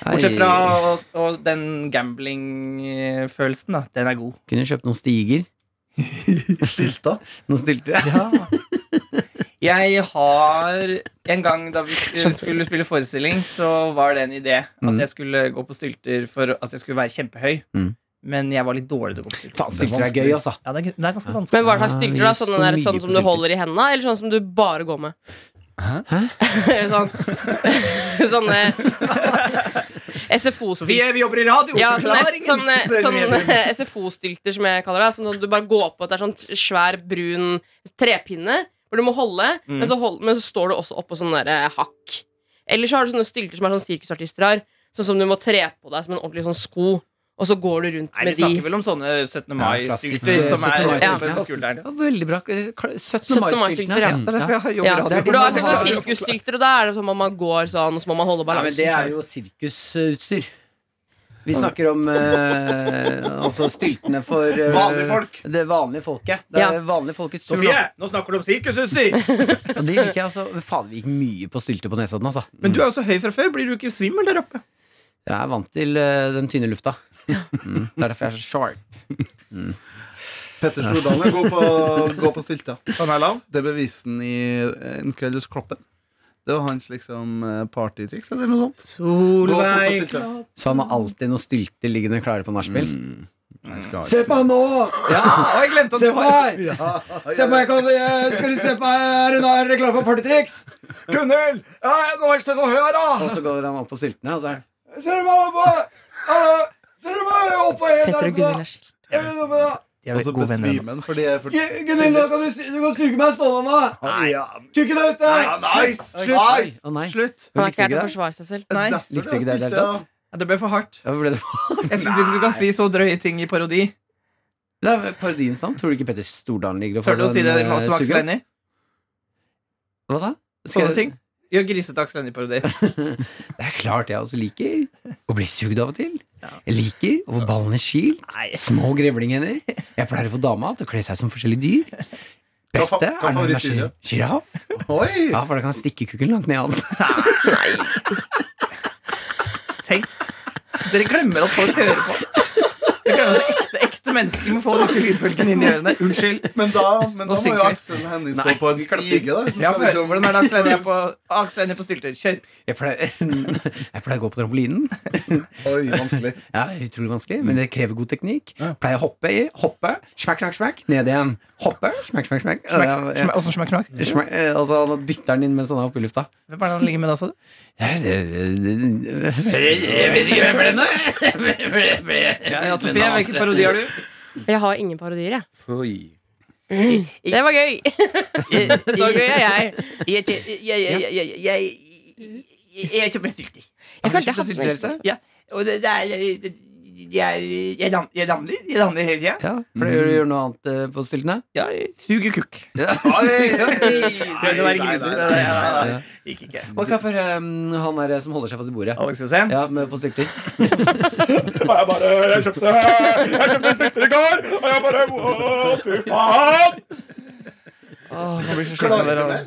S14: Bortsett fra og, og den gambling-følelsen, da. Den er god.
S7: Kunne kjøpt noen stiger.
S6: Stilta.
S7: Noen stilter.
S14: Jeg har En gang da vi sk- skulle spille forestilling, så var det en idé at
S7: Mm.
S14: jeg skulle gå på stylter for at jeg skulle være kjempehøy.
S7: Mm.
S14: Men jeg var litt dårlig til å gå på stylter.
S7: Faen, stilter er gøy, altså.
S14: Ja, det er, gøy- det er ganske vanskelig.
S4: Men hva
S6: Ah,
S4: slags stylter, da?
S7: Ja, vi
S4: Sånne
S7: står
S4: der, sånn
S7: mye
S4: som
S7: på
S4: du
S7: stylter.
S4: holder i henda, eller sånn som du bare går med? sånn Sånne
S14: Vi,
S4: SFO-stylter.
S14: vi jobber i radio!
S4: Ja, sånne,
S14: forklaringens eh,
S4: sånne, sånne
S14: medium.
S4: SFO-stylter, som jeg kaller det. Sånn at du bare går på at det er sånn svær, brun trepinne hvor du må holde,
S14: Mm.
S4: men, så hold, men så står du også oppå sånne der, eh, hakk. Eller så har du sånne stylter som er sånn sirkusartister har, sånn som du må tre på deg som en ordentlig sånn sko, og så går du rundt
S14: Nei, vi
S4: med de.
S14: snakker vel om sånne 17.
S7: klassisk.
S14: mai-stylter som er
S7: 17. mai-stylter,
S14: oppe
S7: ja.
S14: på skulderen.
S7: Ja, veldig bra. Kla- 17.
S4: 17.
S7: mai-stiltene.
S4: mai-stilter, ja.
S7: Mm,
S14: Det er derfor jeg har jobber
S4: Ja,
S14: i
S4: for
S14: radio.
S4: du har sånn sirkusstylter, og da er det sånn at man går sånn, og så må man holde
S7: Nei, men det
S4: balansen.
S7: er
S4: selv.
S7: jo sirkusutstyr. Vi snakker om eh, altså styltene for eh,
S6: Vanlige folk.
S7: det vanlige folket. Det er
S4: Ja.
S7: vanlige folkets tur.
S14: Sofie,
S7: nå.
S14: nå snakker du om sirkusutstyr!
S7: Og det liker jeg altså. Faen, vi gikk mye på stylter på Nesodden, altså.
S14: Men du er jo så høy fra før. Blir du ikke svimmel der oppe?
S7: Jeg er vant til eh, den tynne lufta. Mm. Det er derfor jeg er så sharp. Mm.
S6: Petter Stordalen går på, går på stilta.
S14: Han er lav.
S6: Det beviste han i eh, En kveld hos Kloppen. Det var hans liksom eh, partytriks eller noe sånt. Gå fort på
S14: Solveig
S6: stilta.
S7: Så han har alltid noen stylter liggende klare på nachspiel.
S6: Mm. Nei, skal jeg-
S7: på han nå!
S14: Ja, og jeg glemte at du har
S7: meg!
S6: Ja,
S7: meg, Skal du se på her? Hun har reklame for partytriks!
S14: Gunnhild! Ja, nå har jeg ikke sånn hør,
S7: Og så går han opp på styltene, og så er han
S14: Ser du meg oppe? Ser du meg oppe
S12: Petter og Gunnhild er skilt.
S14: De
S6: Og så besvimer han fordi jeg er for
S14: Gunnhild, nå kan du, suge meg i stålhånda!
S6: Nei, ja.
S14: Kukken er ute!
S6: Ja, nice! nice.
S7: Å nei.
S14: Slutt.
S4: Han
S7: Hun
S4: er
S7: likte ikke
S4: ikke her til å
S7: det.
S4: forsvare seg selv.
S14: Nei.
S6: Derfor
S7: Likte ikke det i det hele
S6: stilta.
S7: tatt.
S14: Ja, det ble for hardt.
S7: Hvorfor ble det
S14: Jeg syns ikke du kan si så drøye ting i parodi.
S7: Det er parodiens navn. Tror du ikke Petter Stordalen ligger og
S14: Tør du å si det
S7: eh,
S14: med oss Max
S7: sugerør?
S14: Lenny?
S7: Hva da? Skal
S14: Sånne
S7: jeg-
S14: ting? Gjør Grisetax Lenny-parodi.
S7: Det er klart jeg også liker å bli sugd av og til. Jeg liker å få ballene skilt.
S14: Nei.
S7: Små grevlinghender. Jeg pleier å få dama til å kle seg som forskjellige dyr.
S6: Hva fa- hva
S7: Beste er når hun
S6: favorittdyret?
S7: er sjiraff.
S6: Oi!
S7: Ja, for da kan jeg stikke kukken langt ned. Altså.
S14: Tenk Dere glemmer at folk hører på. Dere glemmer at ekte, ekte mennesker må få disse lydbølgene inn i ørene. Unnskyld.
S6: Men da, men da må
S14: Nå
S6: jo
S14: synker vi.
S6: Aksel Hennie
S7: Nei,
S6: stå på en
S7: vi klapper.
S6: stige, da. hvis han
S14: Ja,
S6: skal
S14: for,
S6: liksom-
S14: hvordan er det Aksel Hennie er på, Aksel Hennie på stylter? Kjør.
S7: Jeg pleier, jeg pleier å gå på trampolinen.
S6: Oi, vanskelig.
S7: Ja, utrolig vanskelig, men det krever god teknikk. Pleier å hoppe i, hoppe, smakk, smakk, smakk, ned igjen. Hoppe, smakk, smakk, smakk.
S14: Smak- smak- Åssen smakk smak?
S7: Smak, eh, altså, nå dytter han inn mens han er oppe i lufta.
S14: Hvem er det han ligger med da, sa du?
S7: Jeg vet ikke hvem det er.
S14: Ja, Sofie, hvilken parodi har du?
S4: Jeg har ingen parodier, jeg. Det var gøy! Så gøy er jeg.
S14: Eh, Jeg er ikke på stylter.
S4: Jeg følte jeg
S7: Sylter,
S4: hadde
S7: Else?
S14: Og det, det er det- det- jeg, jeg, dam, jeg damler. Jeg damler hele tida.
S7: Ja, Pleier du å gjøre noe annet eh, på stiltene?
S14: Ja, suger kukk.
S7: Ja.
S14: Skal ikke være grisen. Nei, nei, nei, nei. Gikk ikke.
S7: Hva kan for um, han der som holder seg fast i bordet?
S14: Alex Hussein?
S7: Ja, med på stilter.
S15: Jeg bare Jeg kjøpte Jeg kjøpte splitter i går, og jeg bare Å, fy faen!
S14: Åh, man blir så sliten av
S15: Klarer
S14: dere
S15: ikke
S14: alle.
S15: mer.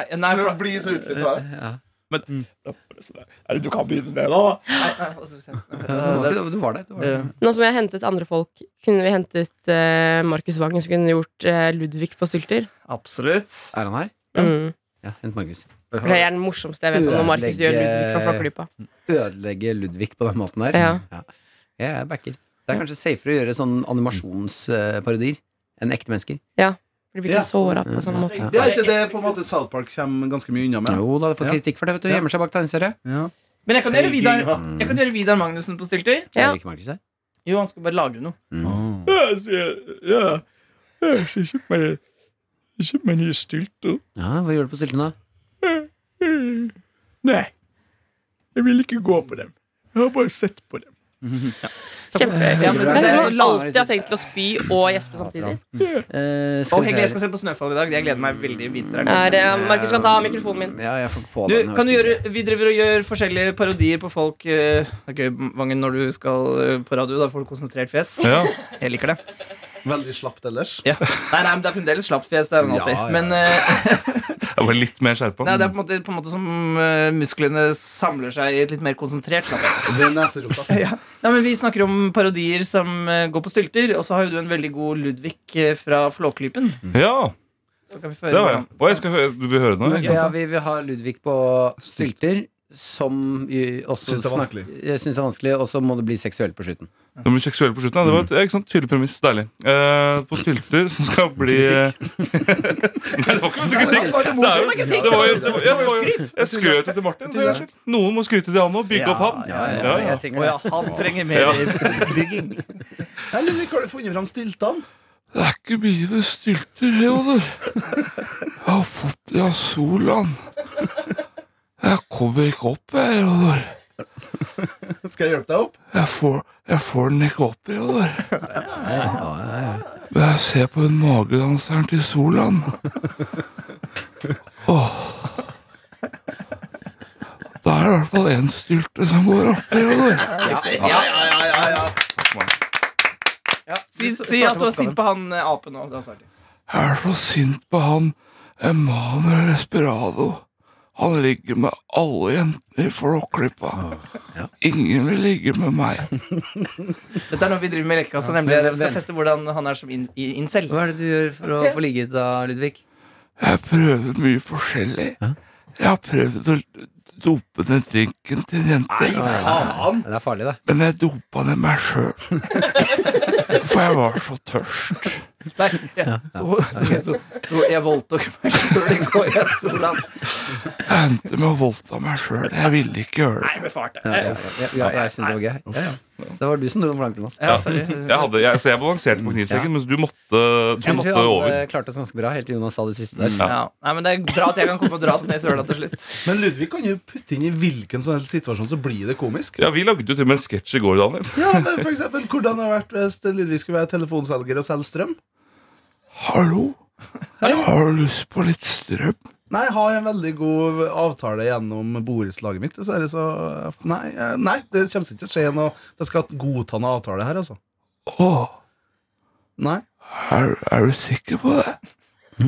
S14: Nei, nei, for-
S15: Du blir så utflytta.
S14: Men
S15: Er det du kan begynne med, da?
S14: Nei, nei, altså, se.
S7: Du var der. Du var der.
S4: Nå som vi har hentet andre folk, kunne vi hentet eh, Markus Wangen, som kunne gjort eh, Ludvig på stylter.
S14: Absolutt.
S7: Er han her?
S4: Mm.
S7: Ja, hent Markus.
S4: For det er den morsomste jeg vet om når Markus gjør Ludvig fra Flakkerdypa.
S7: Ødelegge Ludvig på den måten der.
S4: Ja.
S7: Jeg backer. Det er kanskje safere å gjøre sånn animasjonsparodier enn ekte mennesker.
S4: Ja. For de blir
S6: Ja.
S4: ikke såra på samme måte.
S6: Det er ikke det på en måte South Park kommer ganske mye unna med.
S7: Jo da, det får kritikk for det. vet du Gjemmer seg bak tegneserie.
S14: Men jeg kan, gjøre Vidar,
S6: Feiging,
S14: jeg kan gjøre Vidar Magnussen på stilter.
S4: Ja.
S7: Ikke Markus her.
S14: Jo, han skal bare lagre noe.
S15: Jeg sier Ja. Mm. Jeg skal kjøpe meg Jeg kjøper meg nye stylter.
S7: Ja, Hva gjør du på stiltene, da?
S15: Nei. Jeg vil ikke gå på dem. Jeg har bare sett på dem.
S4: Kjempe.
S14: Ja, men
S4: Det
S14: det
S4: er
S14: er-
S4: som man alltid har tenkt til å spy og gjespe samtidig.
S7: Eh,
S14: Og
S7: skal vi
S14: Hegel, jeg
S7: se
S14: skal
S7: her.
S14: se på Snøfall i dag. Jeg gleder meg veldig. Vinteren.
S4: Er det, Markus kan ta mikrofonen min.
S7: Ja, jeg får ikke på
S14: Du,
S7: den.
S14: kan du gjøre, vi driver og gjør forskjellige parodier på folk. eh, Det er gøy, Vangen, når du skal eh, på radio. Da får du konsentrert fjes.
S5: Ja.
S14: Jeg liker det.
S6: Veldig slapt ellers.
S14: Ja. Nei, nei, men Det er fremdeles slapt fjes. Det er det
S6: Ja,
S14: alltid.
S6: ja, ja.
S14: Men eh,
S5: Jeg var litt mer skjerpa.
S14: nei, det er på en måte, på en måte som eh, musklene samler seg i et litt mer konsentrert slapp.
S6: Det er neserota.
S14: Nei, men Vi snakker om parodier som eh, går på stylter, og så har jo du en veldig god Ludvig eh, fra Flåklypen.
S5: Ja,
S14: Så kan vi få
S5: det
S14: høre
S5: var jeg.
S14: hvordan-
S5: Og jeg skal høre, du vil høre det nå? Ikke
S7: Ja,
S5: sant?
S7: vi vil ha Ludvig på stylter. Som i- også
S6: Syns det er
S7: snak-
S6: vanskelig.
S7: Jeg Syns det er vanskelig, og så må det bli seksuelt på slutten.
S5: Det blir seksuell på slutten. Ja. Det var et ja, ikke sant, tydelig premiss. Deilig. Eh, på stylter som skal bli Nei, det var ikke masse kritikk. Det er jo-
S14: kritikk.
S5: det var jo- det var- ja, det var jo- Jeg skrøt jo til Martin. for jeg skyld. Noen må skryte til han og bygge opp ham.
S14: Ja, ja,
S5: Ja,
S14: ja.
S5: ja.
S7: Jeg tenker
S14: Å ja,
S7: det.
S14: han trenger
S5: Ja.
S14: mer bygging.
S6: Jeg lurer på har du funnet fram stiltene.
S15: Det er ikke mye med stylter heller. Jeg har fått det av Solan. Jeg kommer ikke opp, jeg, Reodor.
S6: Skal jeg hjelpe deg opp?
S15: Jeg får, jeg får den ikke opp, Reodor. Men jeg ser på den magedanseren til Solan. Åh. Da er det i hvert fall én stylte som går opp, Reodor.
S6: Ja, ja, ja, ja, ja.
S14: Si,
S7: Du s-
S14: si
S7: svarte
S14: at du
S7: på
S14: var sint på han eh, apen nå. Da svarte jeg.
S15: Jeg er så sint på han Emanuel Esperado. Han ligger med alle jentene i Flåklypa. Ingen vil ligge med meg.
S14: Dette er noe vi driver med i Lekekassa, nemlig. Vi skal teste hvordan han er som in i- incel.
S7: Hva er det du gjør for å få ligget da, Ludvig?
S15: Jeg prøver mye forskjellig. Jeg har prøvd å dope ned drinken til en jente,
S6: Faen.
S7: Det er farlig, det.
S15: men jeg dopa ned meg sjøl. For jeg var så tørst.
S14: Nei, ja. så, så, så, så jeg voldtok meg sjøl i går, jeg, Solan.
S15: Jeg endte med å voldta meg sjøl. Jeg ville ikke gjøre det.
S14: Nei, eh, med fart.
S7: Ja, ja, ja, ja, jeg syns det var gøy. Ja, ja. Det var du som dro den flanken hans.
S14: Ja, sorry.
S5: Jeg hadde, jeg, så jeg balanserte på knivsekken, mens du måtte, du
S7: Jeg syns vi
S5: måtte over.
S7: alle klarte oss ganske bra, helt til Jonas sa det siste
S6: Mm,
S7: der.
S14: Ja. Nei, men det er bra at jeg kan komme og dra oss ned i søla til slutt.
S6: Men Ludvig kan jo putte inn i hvilken som helst sånn situasjon, så blir det komisk.
S5: Ja, Vi lagde jo til og med en sketsj i går, Daniel.
S6: Ja, men for eksempel, Hvordan hadde det vært hvis Ludvig skulle være telefonselger og selge strøm?
S15: Hallo? Har du lyst på litt strøm?
S6: Nei, jeg har en veldig god avtale gjennom borettslaget mitt. Dessverre, så nei, eh, nei, det kommer ikke til å skje noe. Jeg skal godta en avtale her, altså.
S15: Åh,
S6: Nei.
S15: er, er du sikker på det?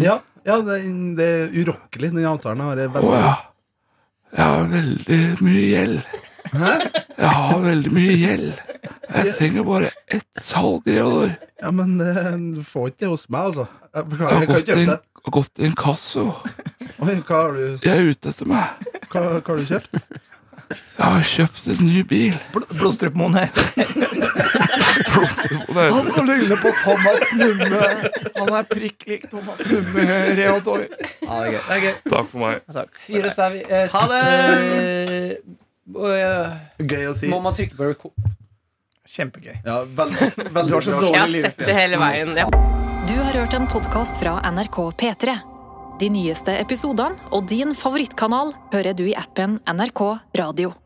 S6: Ja, ja det, er- det er urokkelig, den avtalen. Har jeg
S15: Å ja.
S6: veldig...
S15: Jeg har veldig mye gjeld. Jeg har veldig mye gjeld. Jeg trenger bare ett salg i år.
S6: Ja, men eh, du får ikke det hos meg, altså. Jeg beklager,
S15: Jeg
S6: jeg
S15: har
S6: kan
S15: gått
S6: ikke
S15: inn,
S6: hjelpe deg.
S15: gått inn kasso.
S6: Oi, hva har du,
S15: Jeg er ute etter meg.
S6: hva, hva har du kjøpt?
S15: Jeg har kjøpt en ny bil.
S14: Bl Blodstrupemone heter
S5: Og det er-
S14: som ligner på Thomas Numme. Han er prikk lik Thomas Numme. Reodor.
S7: Ja, det er gøy. Det er gøy.
S5: Takk for meg.
S14: Takk.
S7: Fire stav i- eh,
S14: Ha det!
S7: eh, og, eh,
S6: Gøy å si.
S7: Må man trykke på record?
S14: Kjempegøy.
S6: Ja, veldig, veldig
S14: har så dårlig
S4: Jeg har sett det hele veien. Ja.
S16: Du har hørt en podkast fra NRK P3. De nyeste episodene og din favorittkanal hører du i appen NRK Radio.